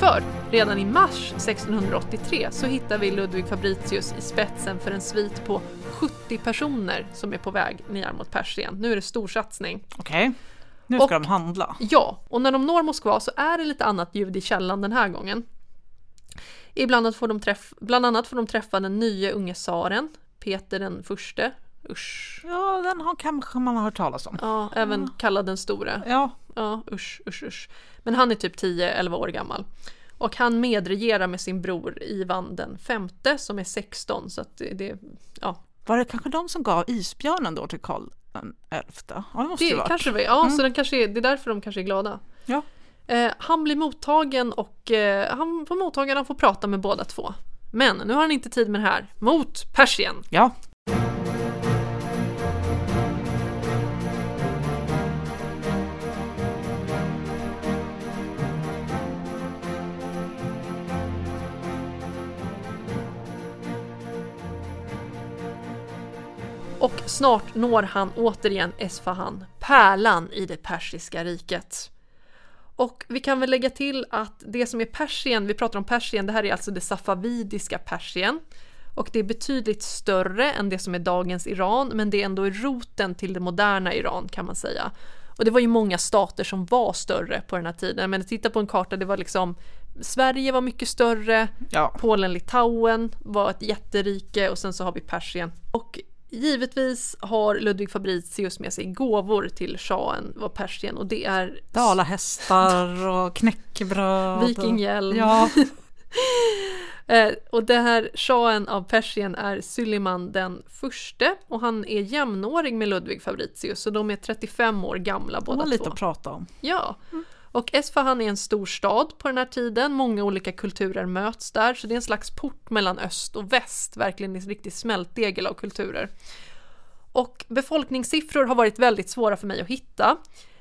Speaker 1: För redan i mars 1683 så hittar vi Ludvig Fabricius i spetsen för en svit på 70 personer som är på väg ner mot Persien. Nu är det storsatsning.
Speaker 2: Okej, nu ska
Speaker 1: Och-
Speaker 2: de handla.
Speaker 1: Ja, och när de når Moskva så är det lite annat ljud i källan den här gången. Ibland annat får de, träff- bland annat får de träffa den nye unge tsaren, Peter den förste. Usch.
Speaker 2: Ja, den har kanske man har hört talas om.
Speaker 1: Ja, även kallad den store.
Speaker 2: Ja,
Speaker 1: Ja, usch, usch, usch. Men han är typ 10-11 år gammal. Och han medregerar med sin bror Ivan den femte som är 16 så att det, det ja,
Speaker 2: var det kanske de som gav isbjörnen då till Karl den elfte? Ja, det måste
Speaker 1: det
Speaker 2: det varit. Mm.
Speaker 1: kanske det var. Ja, så den kanske är, det är därför de kanske är glada.
Speaker 2: Ja.
Speaker 1: Eh, han blir mottagen och eh, han får mottagen, han får prata med båda två. Men nu har han inte tid med det här. Mot Persien!
Speaker 2: Ja,
Speaker 1: Och snart når han återigen Esfahan, pärlan i det persiska riket. Och vi kan väl lägga till att det som är Persien, vi pratar om Persien, det här är alltså det safavidiska Persien. Och det är betydligt större än det som är dagens Iran, men det är ändå roten till det moderna Iran kan man säga. Och det var ju många stater som var större på den här tiden, men titta på en karta, det var liksom Sverige var mycket större,
Speaker 2: ja.
Speaker 1: Polen-Litauen var ett jätterike och sen så har vi Persien. Och givetvis har Ludvig Fabricius med sig gåvor till shahen vad Persien och det är
Speaker 2: Dalahästar och knäckebröd. och-
Speaker 1: vikinghjälm.
Speaker 2: Ja,
Speaker 1: Eh, och det här shahen av Persien är Suleiman den förste och han är jämnårig med Ludvig Fabricius så de är 35 år gamla
Speaker 2: de
Speaker 1: båda
Speaker 2: har lite
Speaker 1: två.
Speaker 2: att prata om.
Speaker 1: Ja. Och Esfahan är en stor stad på den här tiden, många olika kulturer möts där, så det är en slags port mellan öst och väst, verkligen en riktig smältdegel av kulturer. Och befolkningssiffror har varit väldigt svåra för mig att hitta,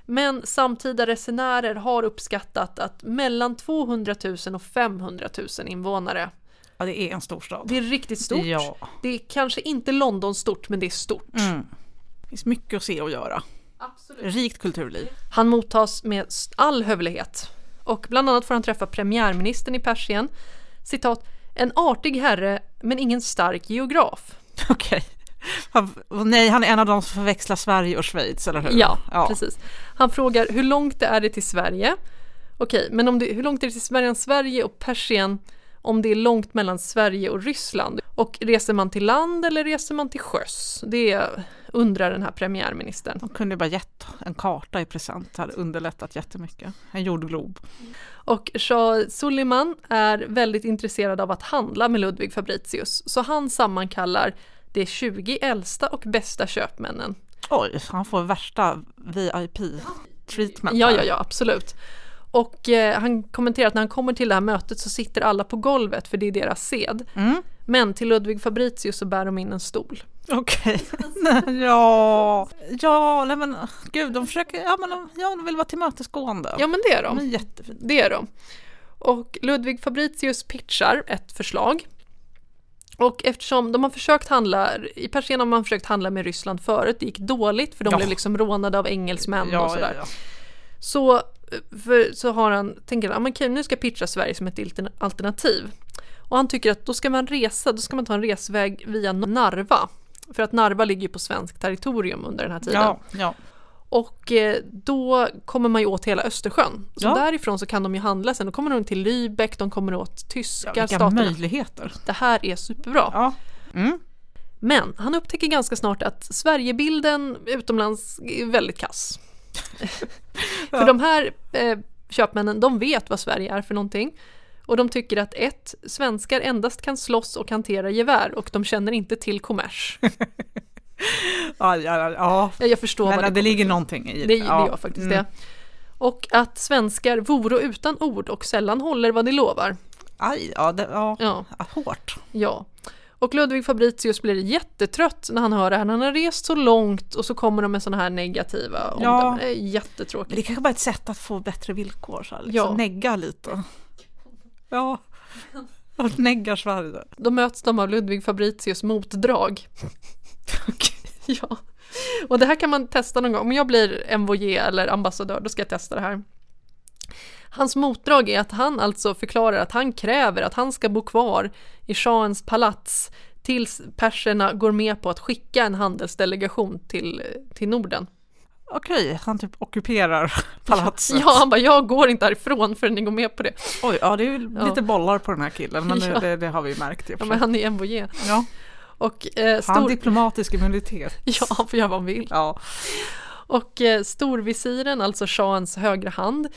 Speaker 1: men samtida resenärer har uppskattat att mellan 200 000 och 500 000 invånare.
Speaker 2: Ja, det är en storstad.
Speaker 1: Det är riktigt stort.
Speaker 2: Ja.
Speaker 1: Det är kanske inte London stort, men det är stort.
Speaker 2: Det finns mycket att se och göra.
Speaker 1: Absolut.
Speaker 2: Rikt kulturliv.
Speaker 1: Han mottas med all hövlighet. Och bland annat får han träffa premiärministern i Persien. Citat, en artig herre men ingen stark geograf.
Speaker 2: Okej. Han- Nej, han är en av de som förväxlar Sverige och Schweiz, eller hur?
Speaker 1: Ja, precis. Han frågar hur långt det är det till Sverige? Okej, men om det, hur långt är det till Sverige, Sverige och Persien? om det är långt mellan Sverige och Ryssland. Och reser man till land eller reser man till sjöss? Det undrar den här premiärministern.
Speaker 2: De kunde bara gett en karta i present, hade underlättat jättemycket. En jordglob.
Speaker 1: Och Shah Suleiman är väldigt intresserad av att handla med Ludwig Fabricius så han sammankallar de 20 äldsta och bästa köpmännen.
Speaker 2: Oj, han får värsta VIP-treatment.
Speaker 1: Ja, ja, ja, absolut. Och eh, han kommenterar att när han kommer till det här mötet så sitter alla på golvet för det är deras sed.
Speaker 2: Mm.
Speaker 1: Men till Ludwig Fabricius så bär de in en stol.
Speaker 2: Okej. Nej, ja, ja, nej men gud, de försöker, ja men de, ja, de vill vara tillmötesgående.
Speaker 1: Ja men det är
Speaker 2: de är
Speaker 1: de,
Speaker 2: jättefina.
Speaker 1: det är de. Och Ludwig Fabricius pitchar ett förslag. Och eftersom de har försökt handla, i Persien har man försökt handla med Ryssland förut, det gick dåligt för de
Speaker 2: Ja.
Speaker 1: blev liksom rånade av engelsmän och
Speaker 2: Ja,
Speaker 1: sådär.
Speaker 2: ja, ja.
Speaker 1: Så, för, så har han, tänker han, "Ah, men okej, nu ska jag pitcha Sverige som ett altern- alternativ. Och han tycker att då ska man resa, då ska man ta en resväg via Narva. För att Narva ligger ju på svenskt territorium under den här tiden.
Speaker 2: ja, ja.
Speaker 1: Och eh, då kommer man ju åt hela Östersjön. Så
Speaker 2: Ja.
Speaker 1: därifrån så kan de ju handla sen. Då kommer de till Lübeck, de kommer åt
Speaker 2: ja
Speaker 1: tyskar,
Speaker 2: vilka
Speaker 1: staterna.
Speaker 2: möjligheter.
Speaker 1: Det här är superbra.
Speaker 2: Ja. Mm.
Speaker 1: Men han upptäcker ganska snart att Sverigebilden utomlands är väldigt kass. För de här eh, köpmännen, de vet vad Sverige är för någonting. Och de tycker att ett, svenskar endast kan slåss och hantera gevär och de känner inte till kommers.
Speaker 2: Ja, ja, ja, ja.
Speaker 1: Ja, Jag förstår
Speaker 2: Men
Speaker 1: vad
Speaker 2: det,
Speaker 1: det, det,
Speaker 2: ligger någonting i mm.
Speaker 1: det, det gör faktiskt det. Och att svenskar voro utan ord och sällan håller vad de lovar.
Speaker 2: Aj, ja, det, ja.
Speaker 1: Ja,
Speaker 2: Ja, Hårt.
Speaker 1: ja. Och Ludwig Fabricius blir jättetrött när han hör det här. Han har rest så långt och så kommer de med sådana här negativa
Speaker 2: Ja.
Speaker 1: omdömen. Det är jättetråkigt.
Speaker 2: Men det kanske bara är ett sätt att få bättre villkor, så här, liksom
Speaker 1: Ja.
Speaker 2: negga lite. Ja, och neggar Sverige.
Speaker 1: Då möts de av Ludwig Fabricius motdrag. ja. Och det här kan man testa någon gång. Om jag blir MVG eller ambassadör, då ska jag testa det här. Hans motdrag är att han alltså förklarar att han kräver att han ska bo kvar i shahens palats tills perserna går med på att skicka en handelsdelegation till, till Norden.
Speaker 2: Okej, han typ ockuperar palatset.
Speaker 1: Ja, han bara, jag går inte härifrån förrän ni går med på det.
Speaker 2: Oj, ja det är ju
Speaker 1: Ja.
Speaker 2: lite bollar på den här killen, men det,
Speaker 1: Ja.
Speaker 2: det, det har vi ju märkt. i och
Speaker 1: Ja,
Speaker 2: för
Speaker 1: men
Speaker 2: sig.
Speaker 1: han är MVG.
Speaker 2: Ja,
Speaker 1: Och, eh,
Speaker 2: han har
Speaker 1: stor...
Speaker 2: diplomatisk immunitet.
Speaker 1: Ja, han får göra vad han vill.
Speaker 2: Ja.
Speaker 1: Och eh, storvisiren, alltså shahens högra hand,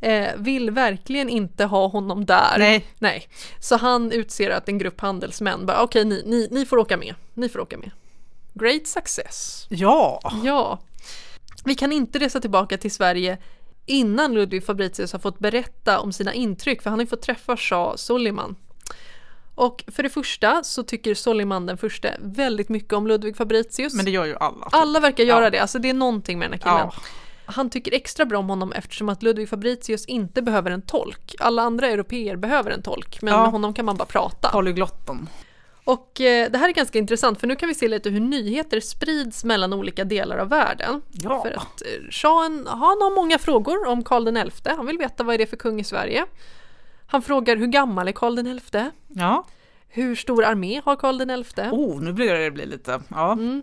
Speaker 1: eh, vill verkligen inte ha honom där.
Speaker 2: Nej,
Speaker 1: Nej. Så han utser att en grupp handelsmän bara okej, ni, ni, ni får åka med. Ni får åka med. Great success.
Speaker 2: ja,
Speaker 1: Ja. Vi kan inte resa tillbaka till Sverige innan Ludwig Fabricius har fått berätta om sina intryck för han har ju fått träffa Shah Soliman. Och för det första så tycker Soliman den första väldigt mycket om Ludwig Fabricius.
Speaker 2: men det gör ju alla.
Speaker 1: Alla verkar göra
Speaker 2: Ja.
Speaker 1: det, alltså det är någonting med den här killen.
Speaker 2: Ja.
Speaker 1: Han tycker extra bra om honom eftersom att Ludwig Fabricius inte behöver en tolk. Alla andra europeer behöver en tolk, men
Speaker 2: Ja.
Speaker 1: med honom kan man bara prata.
Speaker 2: Polyglotten.
Speaker 1: Och eh, det här är ganska intressant för nu kan vi se lite hur nyheter sprids mellan olika delar av världen.
Speaker 2: Ja.
Speaker 1: För att eh, shahen, han har många frågor om Karl XI, han vill veta vad är det för kung i Sverige. Han frågar hur gammal är Karl XI?
Speaker 2: Ja.
Speaker 1: Hur stor armé har Karl XI?
Speaker 2: Oh, nu blir det, det blir lite... Ja.
Speaker 1: Mm.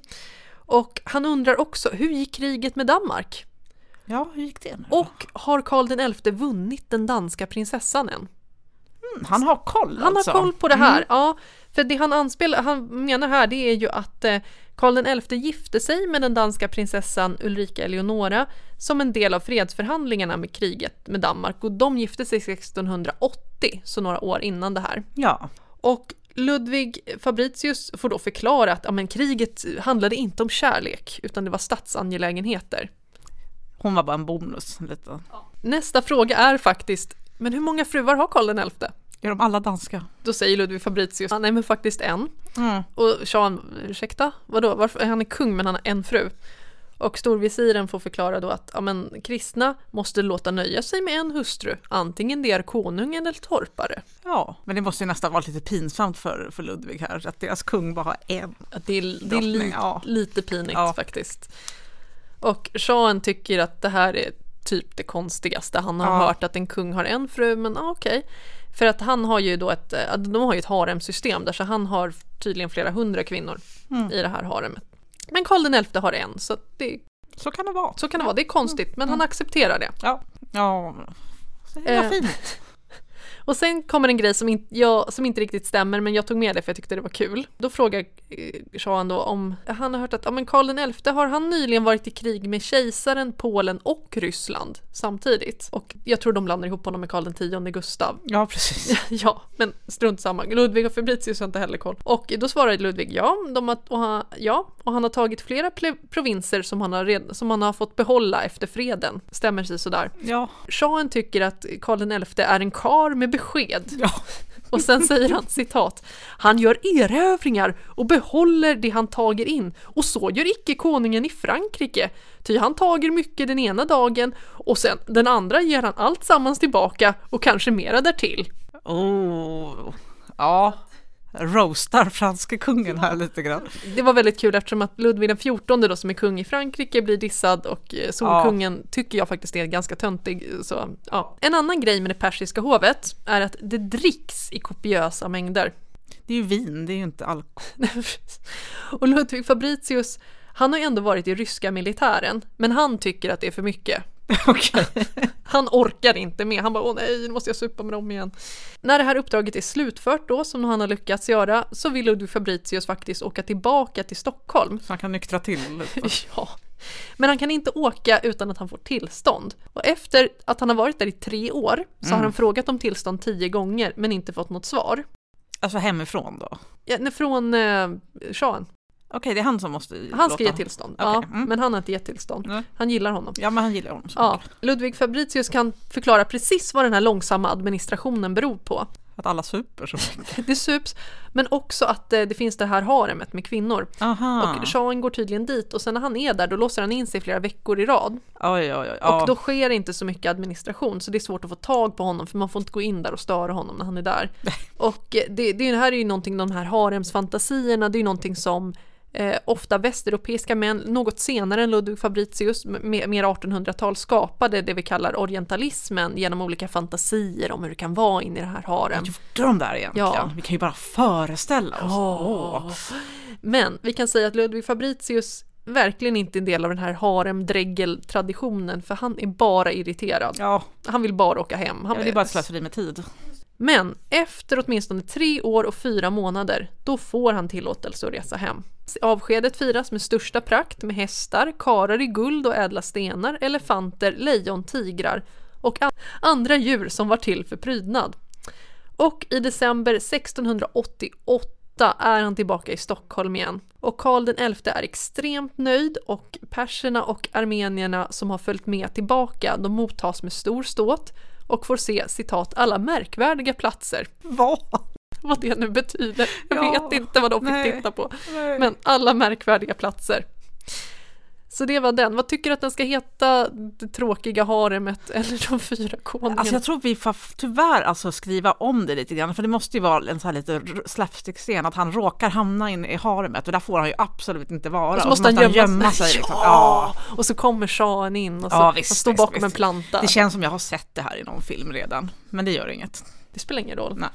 Speaker 1: Och han undrar också, hur gick kriget med Danmark?
Speaker 2: ja, hur gick det nu? då?
Speaker 1: Och har Karl XI vunnit den danska prinsessan än?
Speaker 2: Mm, han har koll
Speaker 1: Han
Speaker 2: alltså.
Speaker 1: har koll på det här. Ja, för det han anspelar, han menar här det är ju att eh, Karl XI gifte sig med den danska prinsessan Ulrika Eleonora som en del av fredsförhandlingarna med kriget med Danmark och de gifte sig 1680, så några år innan det här.
Speaker 2: Ja.
Speaker 1: Och Ludvig Fabricius får då förklara att ja, men kriget handlade inte om kärlek utan det var statsangelägenheter.
Speaker 2: Hon var bara en bonus. Lite.
Speaker 1: Nästa fråga är faktiskt, men hur många fruar har Karl XI?
Speaker 2: Är de alla danska?
Speaker 1: Då säger Ludvig Fabricius, nej men faktiskt en.
Speaker 2: Mm.
Speaker 1: Och Sean, ursäkta, vadå, varför, han är kung men han har en fru. Och storvisiren får förklara då att ja, men, kristna måste låta nöja sig med en hustru, antingen det är konung eller torpare.
Speaker 2: Ja, men det måste ju nästan vara lite pinsamt för, för Ludvig här, att deras kung bara har en.
Speaker 1: Att det är, det är
Speaker 2: Drottning,
Speaker 1: li,
Speaker 2: ja.
Speaker 1: lite pinigt
Speaker 2: Ja.
Speaker 1: faktiskt. Och Sean tycker att det här är typ det konstigaste han har
Speaker 2: Ja.
Speaker 1: hört att en kung har en fru, men ah, okej. För att han har ju då ett, eh, de har ju ett haremsystem där så han har tydligen flera hundra kvinnor
Speaker 2: Mm.
Speaker 1: i det här haremet. Men Karl XI har en, så att det
Speaker 2: Så kan det vara.
Speaker 1: Så kan det vara,
Speaker 2: Mm.
Speaker 1: det är konstigt men han accepterar det.
Speaker 2: Ja, ja. Så himla
Speaker 1: Eh.
Speaker 2: fint.
Speaker 1: Och Och sen kommer en grej som, in, jag, som inte riktigt stämmer men jag tog med det för jag tyckte det var kul. Då frågar eh, Jean då om, han har hört att ja, men Karl XI har han nyligen varit i krig med kejsaren, Polen och Ryssland samtidigt. Och jag tror de blandar ihop honom med Karl X Gustav.
Speaker 2: Ja, precis.
Speaker 1: Ja, men strunt samma. Ludvig och Fabritius har inte heller koll. Och då svarade Ludvig ja, de har, och, han, ja och han har tagit flera ple- provinser som han, har red, som han har fått behålla efter freden. Stämmer sig sådär.
Speaker 2: Ja.
Speaker 1: Shahen tycker att Karl XI är en kar med besked.
Speaker 2: ja.
Speaker 1: Och sen säger han citat. Han gör erövringar och behåller det han tager in och så gör icke konungen i Frankrike. Ty han tager mycket den ena dagen och sen den andra ger han allt sammans tillbaka och kanske mera därtill.
Speaker 2: Oh. Ja. Roastar franske kungen här lite grann.
Speaker 1: Det var väldigt kul eftersom att Ludvig den XIV då som är kung i Frankrike blir dissad och eh, Solkungen tycker jag faktiskt är ganska töntig. Så, ja. En annan grej med det persiska hovet är att det dricks i kopiösa mängder.
Speaker 2: Det är ju vin, det är ju inte alkohol.
Speaker 1: och Ludvig Fabricius, han har ju ändå varit i ryska militären, men han tycker att det är för mycket.
Speaker 2: Okej.
Speaker 1: Han orkar inte med, han bara åh nej, nu måste jag supa med dem igen. När det här uppdraget är slutfört då, som han har lyckats göra, så vill Ludvig Fabricius faktiskt åka tillbaka till Stockholm.
Speaker 2: Så han kan nyktra till lite.
Speaker 1: Ja. Men han kan inte åka utan att han får tillstånd. Och efter att han har varit där i tre år så har han frågat om tillstånd tio gånger men inte fått något svar.
Speaker 2: Alltså hemifrån då? Okej,
Speaker 1: Ja, nej, från eh, shahen.
Speaker 2: det är han som måste
Speaker 1: Han
Speaker 2: typ låta-
Speaker 1: ska ge tillstånd.
Speaker 2: Okej,
Speaker 1: Ja,
Speaker 2: mm.
Speaker 1: Men han har inte gett tillstånd.
Speaker 2: Nej.
Speaker 1: Han gillar honom.
Speaker 2: Ja, men han gillar honom. Så.
Speaker 1: Ja, Ludvig Fabricius kan förklara precis vad den här långsamma administrationen beror på.
Speaker 2: Att alla super så mycket.
Speaker 1: Det sups, men också att eh, det finns det här haremet med kvinnor.
Speaker 2: Aha.
Speaker 1: Och shahen går tydligen dit och sen när han är där då låser han in sig flera veckor i rad.
Speaker 2: Oj, oj, oj.
Speaker 1: Och då sker inte så mycket administration så det är svårt att få tag på honom för man får inte gå in där och störa honom när han är där. Och eh, det, det här är ju någonting, de här haremsfantasierna, det är ju någonting som eh, ofta västeuropeiska män, något senare än Ludwig Fabricius, m- mer mer 1800-tal, skapade det vi kallar orientalismen genom olika fantasier om hur det kan vara in i det här harem.
Speaker 2: gjorde de där egentligen?
Speaker 1: Ja.
Speaker 2: Vi kan ju bara föreställa oss.
Speaker 1: Åh. Men vi kan säga att Ludwig Fabricius verkligen inte är en del av den här harem-dregel-traditionen för han är bara irriterad.
Speaker 2: Ja,
Speaker 1: Han vill bara åka hem. Han
Speaker 2: ja, det är bara ett slöseri med tid.
Speaker 1: Men efter åtminstone tre år och fyra månader, då får han tillåtelse att resa hem. Avskedet firas med största prakt med hästar, karar i guld och ädla stenar, elefanter, lejon, tigrar och an- andra djur som var till för prydnad. Och i december 1688 är han tillbaka i Stockholm igen. Och Karl XI är extremt nöjd och perserna och armenierna som har följt med tillbaka de mottas med stor ståt och får se citat alla märkvärdiga platser.
Speaker 2: Vad?
Speaker 1: Vad det nu betyder. Jag
Speaker 2: Ja,
Speaker 1: vet inte vad de fick
Speaker 2: nej.
Speaker 1: titta på.
Speaker 2: Nej.
Speaker 1: Men alla märkvärdiga platser. Så det var den. Vad tycker du att den ska heta? Det tråkiga haremet eller de fyra konungarna?
Speaker 2: Alltså jag tror vi får f- tyvärr alltså skriva om det lite grann, för det måste ju vara en så här lite r- slapstick-scen att han råkar hamna in i haremet och där får han ju absolut inte vara.
Speaker 1: Och så måste han gömma, sig.
Speaker 2: liksom.
Speaker 1: Ja. Och så kommer shahen in och så
Speaker 2: Ja, visst,
Speaker 1: han står
Speaker 2: visst,
Speaker 1: bakom
Speaker 2: visst.
Speaker 1: en planta.
Speaker 2: Det
Speaker 1: Det,
Speaker 2: känns som jag har sett det här i någon film redan, men det gör inget.
Speaker 1: spelar ingen roll.
Speaker 2: Nej.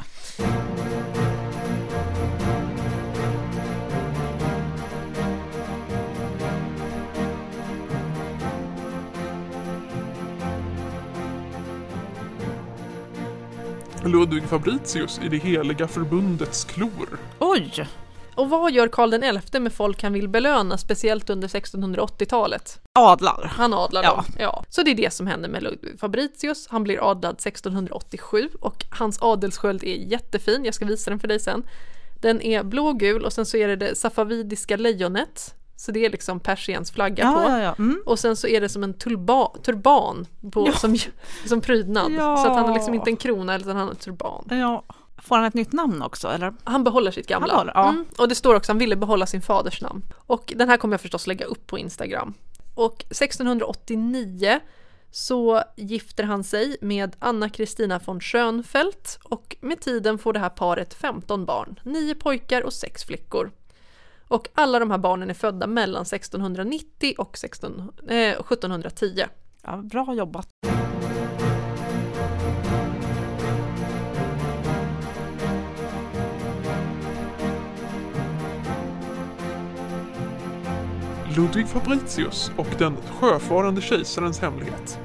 Speaker 4: Ludvig Fabricius i det heliga förbundets klor.
Speaker 2: Oj!
Speaker 1: Och vad gör Karl XI med folk han vill belöna, speciellt under 1680-talet?
Speaker 2: Adlar.
Speaker 1: Han adlar
Speaker 2: Ja.
Speaker 1: dem. Ja. Så det är det som händer med Ludvig Fabricius. Han blir adlad 1687 och hans adelssköld är jättefin. Jag ska visa den för dig sen. Den är blågul och sen så är det det safavidiska lejonet. Så det är liksom Persiens flagga på.
Speaker 2: Ja, ja, ja. Mm.
Speaker 1: Och sen så är det som en tulba, turban på,
Speaker 2: Ja.
Speaker 1: som, som prydnad.
Speaker 2: Ja.
Speaker 1: Så att han har liksom inte en krona utan han har en turban.
Speaker 2: ja. Får han ett nytt namn också, eller?
Speaker 1: Han behåller sitt gamla.
Speaker 2: Han behåller, ja.
Speaker 1: mm. Och det står också att han ville behålla sin faders namn. Och den här kommer jag förstås lägga upp på Instagram. Och 1689 så gifter han sig med Anna Kristina von Schönfeldt och med tiden får det här paret 15 barn, 9 pojkar och 6 flickor. Och alla de här barnen är födda mellan 1690 och 16, eh, 1710.
Speaker 2: Ja, bra jobbat.
Speaker 4: Ludvig Fabricius och den sjöfarande kejsarens hemlighet.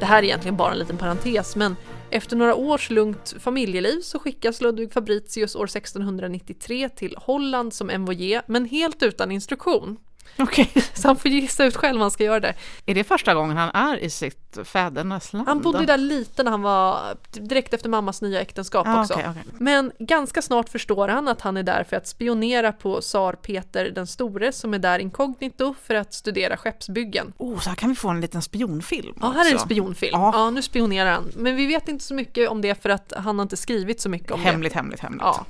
Speaker 1: Det här är egentligen bara en liten parentes men Efter några års lugnt familjeliv så skickas Ludvig Fabricius år 1693 till Holland som envoyé, men helt utan instruktion.
Speaker 2: Okej.
Speaker 1: Så han får gissa ut själv vad han ska göra där.
Speaker 5: Är det första gången han är i sitt fädernesland?
Speaker 1: Han bodde ju där lite när han var direkt efter mammas nya äktenskap
Speaker 5: ah,
Speaker 1: också.
Speaker 5: okej, okej.
Speaker 1: Men ganska snart förstår han att han är där för att spionera på tsar Peter den store som är där inkognito för att studera skeppsbyggen.
Speaker 2: Oh, så här kan vi få en liten spionfilm
Speaker 1: Ja, här är en
Speaker 2: också.
Speaker 1: spionfilm.
Speaker 2: Ja.
Speaker 1: Ja. nu spionerar han. Men vi vet inte så mycket om det för att han har inte skrivit så mycket om det.
Speaker 2: Hemligt, hemligt, hemligt.
Speaker 1: Ja.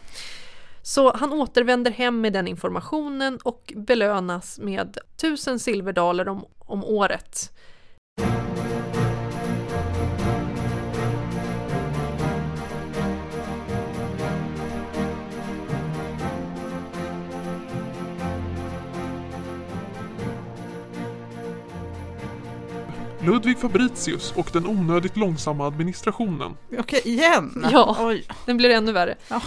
Speaker 1: Så han återvänder hem med den informationen och belönas med tusen silverdaler om, om året.
Speaker 4: Ludvig Fabricius och den onödigt långsamma administrationen.
Speaker 2: Okej, igen!
Speaker 1: Ja.
Speaker 2: Oj.
Speaker 1: Den blir ännu värre.
Speaker 2: Ja.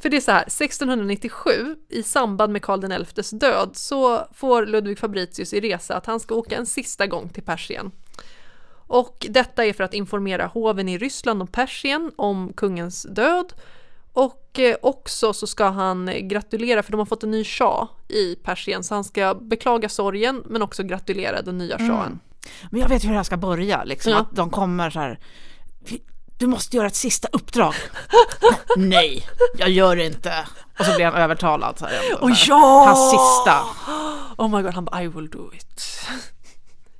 Speaker 1: För det är så här, 1697 i samband med Karl XIs död så får Ludvig Fabricius i resa att han ska åka en sista gång till Persien. Och detta är för att informera hoven i Ryssland och Persien om kungens död. Och eh, också så ska han gratulera, för de har fått en ny shah i Persien, så han ska beklaga sorgen men också gratulera den nya shahen.
Speaker 2: Mm. Men jag vet hur det här ska börja, liksom,
Speaker 1: Ja.
Speaker 2: att de kommer så här. "Vi- Du måste göra ett sista uppdrag. Nej, jag gör det inte.
Speaker 5: Och så blir han övertalad. Så här, ändå, så här.
Speaker 2: ja!
Speaker 5: Hans sista.
Speaker 1: Oh my god, han bara I will do it.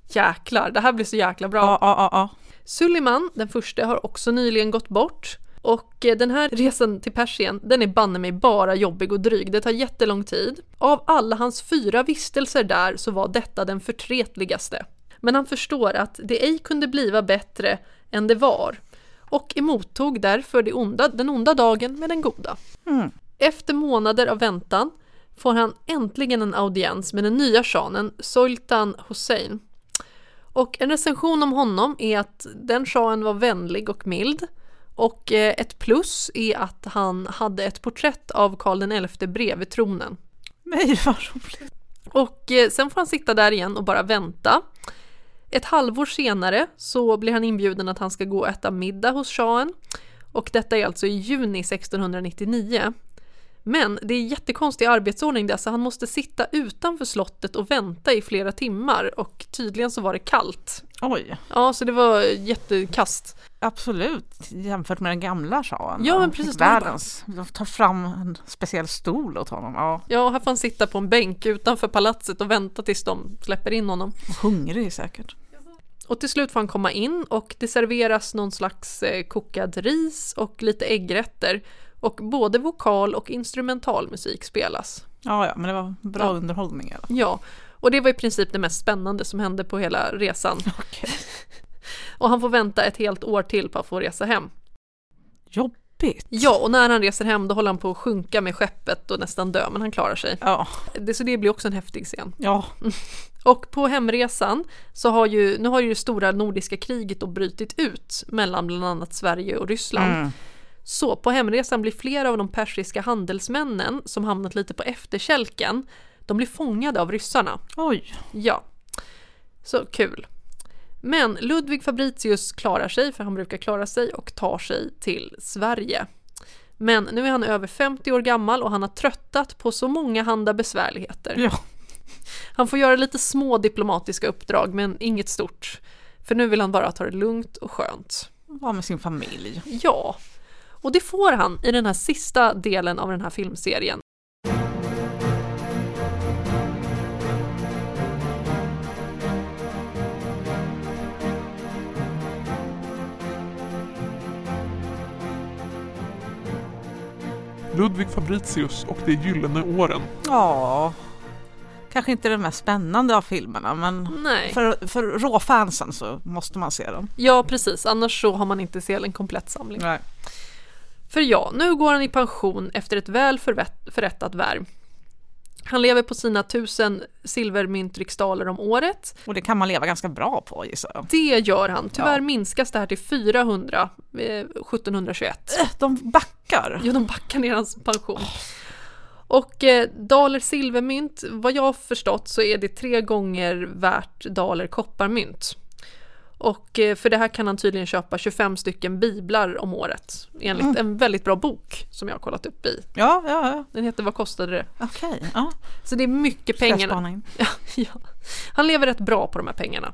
Speaker 1: Jäklar, det här blir så jäkla bra.
Speaker 2: Ja, ja, ja, ja.
Speaker 1: Suleiman, den första, har också nyligen gått bort. Och eh, den här resan till Persien, den är banne mig bara jobbig och dryg. Det tar jättelång tid. Av alla hans fyra vistelser där så var detta den förtretligaste. Men han förstår att det ej kunde bliva bättre än det var. Och emottog därför det onda, den onda dagen med den goda. Efter månader av väntan får han äntligen en audiens med den nya shahen, Sultan Hussein. Och en recension om honom är att den shahen var vänlig och mild. Och eh, ett plus är att han hade ett porträtt av Karl XI bredvid tronen.
Speaker 2: Nej, vad roligt.
Speaker 1: Och eh, sen får han sitta där igen och bara vänta. Ett halvår senare så blir han inbjuden att han ska gå och äta middag hos shahen. Och detta är alltså i juni 1699. Men det är jättekonstig arbetsordning där så han måste sitta utanför slottet och vänta i flera timmar och tydligen så var det kallt.
Speaker 2: Oj,
Speaker 1: Ja, så det var jättekast.
Speaker 2: absolut. Jämfört med den gamla shahen.
Speaker 1: Ja,
Speaker 2: va?
Speaker 1: men precis, de är
Speaker 2: Världens. De tar fram en speciell stol åt honom. Ja,
Speaker 1: Ja, här får han sitta på en bänk utanför palatset och vänta tills de släpper in honom.
Speaker 2: hungrig säkert.
Speaker 1: Och till slut får han komma in och det serveras någon slags eh, kokad ris och lite äggrätter. Och både vokal och instrumentalmusik spelas.
Speaker 2: Ja, ja, men det var bra underhållning i alla fall.
Speaker 1: Ja, och det var i princip det mest spännande som hände på hela resan. Och han får vänta ett helt år till på att få resa hem.
Speaker 2: Jobbigt.
Speaker 1: Ja, och när han reser hem då håller han på att sjunka med skeppet och nästan dö, men han klarar sig.
Speaker 2: Ja, Mm.
Speaker 1: Det, så det blir också en häftig scen.
Speaker 2: ja.
Speaker 1: Och på hemresan så har ju, nu har ju det stora nordiska kriget då brutit ut mellan bland annat Sverige och Ryssland.
Speaker 2: Mm.
Speaker 1: Så på hemresan blir flera av de persiska handelsmännen som hamnat lite på efterkälken, de blir fångade av ryssarna.
Speaker 2: Oj.
Speaker 1: Ja. Så kul. Men Ludvig Fabricius klarar sig, för han brukar klara sig, och tar sig till Sverige. Men nu är han över 50 år gammal och han har tröttat på så många handa besvärligheter.
Speaker 2: Ja.
Speaker 1: Han får göra lite små diplomatiska uppdrag men inget stort. För nu vill han bara ta det lugnt och skönt.
Speaker 2: Var med sin familj.
Speaker 1: Ja. Och det får han i den här sista delen av den här filmserien.
Speaker 4: Ludvig Fabricius och de gyllene åren.
Speaker 2: Ja. Kanske inte den mest spännande av filmerna men
Speaker 1: Nej.
Speaker 2: för, för råfansen så måste man se den.
Speaker 1: Ja, precis. Annars så har man inte sett en komplett samling.
Speaker 2: Nej.
Speaker 1: För ja, nu går han i pension efter ett väl förvett- förrättat värv. Han lever på sina tusen silvermyntriksdaler om året
Speaker 2: Och det kan man leva ganska bra på gissar jag.
Speaker 1: Det gör han. Tyvärr
Speaker 2: Ja.
Speaker 1: minskas det här till 400 eh, 1721.
Speaker 2: Äh, De backar.
Speaker 1: Jo, de backar ner hans pension. Och eh, daler silvermynt, vad jag har förstått så är det tre gånger värt daler kopparmynt. Och eh, för det här kan han tydligen köpa 25 stycken biblar om året enligt en väldigt bra bok som jag har kollat upp i.
Speaker 2: Ja, ja, ja.
Speaker 1: Den heter Vad kostade det?
Speaker 2: okej. Ja.
Speaker 1: Så det är mycket pengar.
Speaker 2: Pengarna.
Speaker 1: ja. Han lever rätt bra på de här pengarna.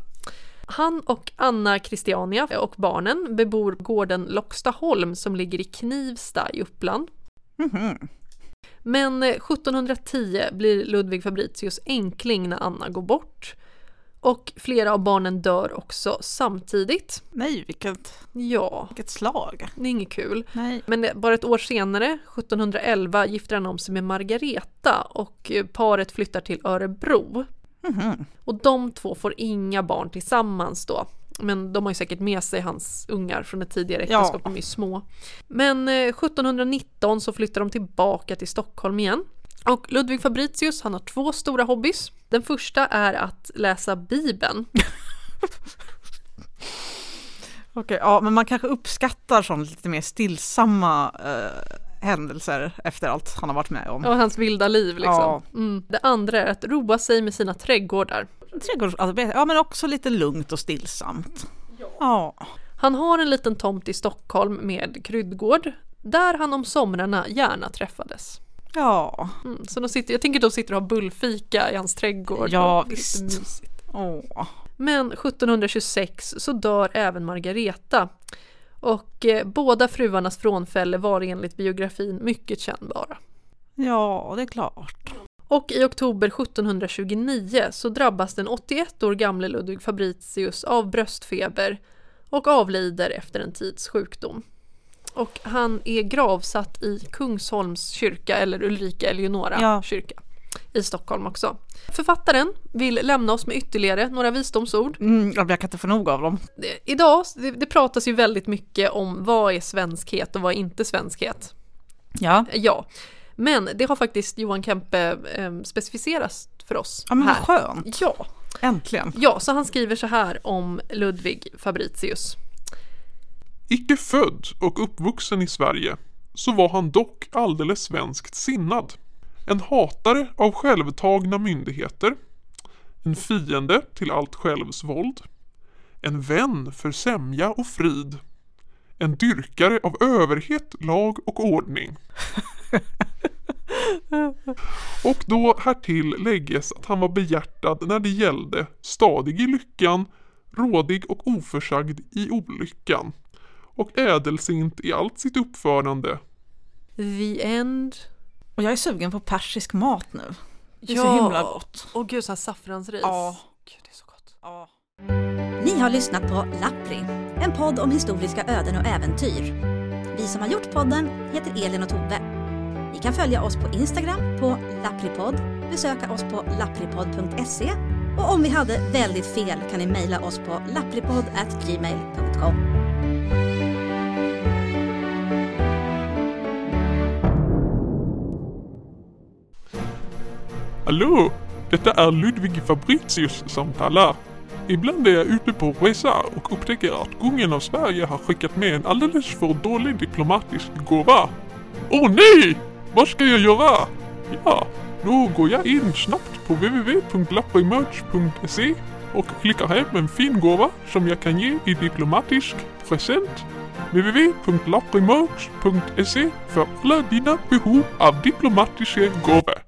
Speaker 1: Han och Anna Christiania och barnen bebor gården Loxtaholm som ligger i Knivsta i Uppland.
Speaker 2: Mhm.
Speaker 1: Men eh, 1710 blir Ludvig Fabricius enkling när Anna går bort. Och flera av barnen dör också samtidigt.
Speaker 2: Nej, vilket,
Speaker 1: Ja,
Speaker 2: vilket slag.
Speaker 1: det är inget kul.
Speaker 2: Nej.
Speaker 1: Men bara ett år senare, 1711, gifter han om sig med Margareta och eh, paret flyttar till Örebro.
Speaker 2: Mhm.
Speaker 1: Och de två får inga barn tillsammans då. Men de har ju säkert med sig hans ungar från ett tidigare
Speaker 2: Ja.
Speaker 1: äktenskap, de är ju små. Men eh, 1719 så flyttar de tillbaka till Stockholm igen. Och Ludvig Fabricius, han har två stora hobbys. Den första är att läsa Bibeln.
Speaker 2: Okej, ja, men man kanske uppskattar sånt lite mer stillsamma eh, händelser efter allt han har varit med om.
Speaker 1: Och hans vilda liv liksom.
Speaker 2: Ja.
Speaker 1: Mm. Det andra är att roa sig med sina trädgårdar.
Speaker 2: Trädgårdsarbete, alltså, ja men också lite lugnt och stillsamt. Ja.
Speaker 1: Han har en liten tomt i Stockholm med kryddgård där han om somrarna gärna träffades.
Speaker 2: Ja.
Speaker 1: Mm, så de sitter, jag tänker de sitter och har bullfika i hans trädgård.
Speaker 2: Ja,
Speaker 1: Och det är
Speaker 2: visst.
Speaker 1: mysigt.
Speaker 2: Åh.
Speaker 1: Men 1726 så dör även Margareta. Och eh, båda fruarnas frånfälle var enligt biografin mycket kännbara.
Speaker 2: Ja, det är klart.
Speaker 1: Och i oktober 1729 så drabbas den 81 år gamle Ludvig Fabricius av bröstfeber och avlider efter en tids sjukdom. Och han är gravsatt i Kungsholms kyrka, eller Ulrika Eleonora
Speaker 2: Ja.
Speaker 1: kyrka, i Stockholm också. Författaren vill lämna oss med ytterligare några visdomsord.
Speaker 2: Mm, jag kan inte få nog av dem.
Speaker 1: Det- Idag, det, det pratas ju väldigt mycket om vad är svenskhet och vad är inte svenskhet.
Speaker 2: Ja.
Speaker 1: Ja, men det har faktiskt Johan Kempe eh, specificerats för oss
Speaker 2: Ja men vad
Speaker 1: här.
Speaker 2: skönt.
Speaker 1: Ja,
Speaker 2: Äntligen.
Speaker 1: ja, så han skriver så här om Ludvig Fabricius.
Speaker 4: Icke född och uppvuxen i Sverige, så var han dock alldeles svenskt sinnad. En hatare av självtagna myndigheter, en fiende till allt självsvåld, en vän för sämja och frid, en dyrkare av överhet, lag och ordning. Och då härtill lägges att han var behjärtad när det gällde stadig i lyckan, rådig och oförsagd i olyckan och ädelsint i allt sitt uppförande.
Speaker 1: The end.
Speaker 2: Och jag är sugen på persisk mat nu. Det är
Speaker 1: Ja.
Speaker 2: så himla gott.
Speaker 1: Åh gud, så här saffransris.
Speaker 2: Ja.
Speaker 1: Gud, det är så gott.
Speaker 2: Ja.
Speaker 3: Ni har lyssnat på Lappri, en podd om historiska öden och äventyr. Vi som har gjort podden heter Elin och Tove. Ni kan följa oss på Instagram på lappripodd, besöka oss på lappripodd.se och om vi hade väldigt fel kan ni mejla oss på lappripodd.gmail.com.
Speaker 4: Hallå! Detta är Ludvig Fabricius som talar. Ibland är jag ute på resa och upptäcker att kungen av Sverige har skickat med en alldeles för dålig diplomatisk gåva. Åh nej! Vad ska jag göra? Ja, då går jag in snabbt på www.lapprimerch.se och klickar hem en fin gåva som jag kan ge i diplomatisk present. www.lapprimerch.se för alla dina behov av diplomatiska gåvor.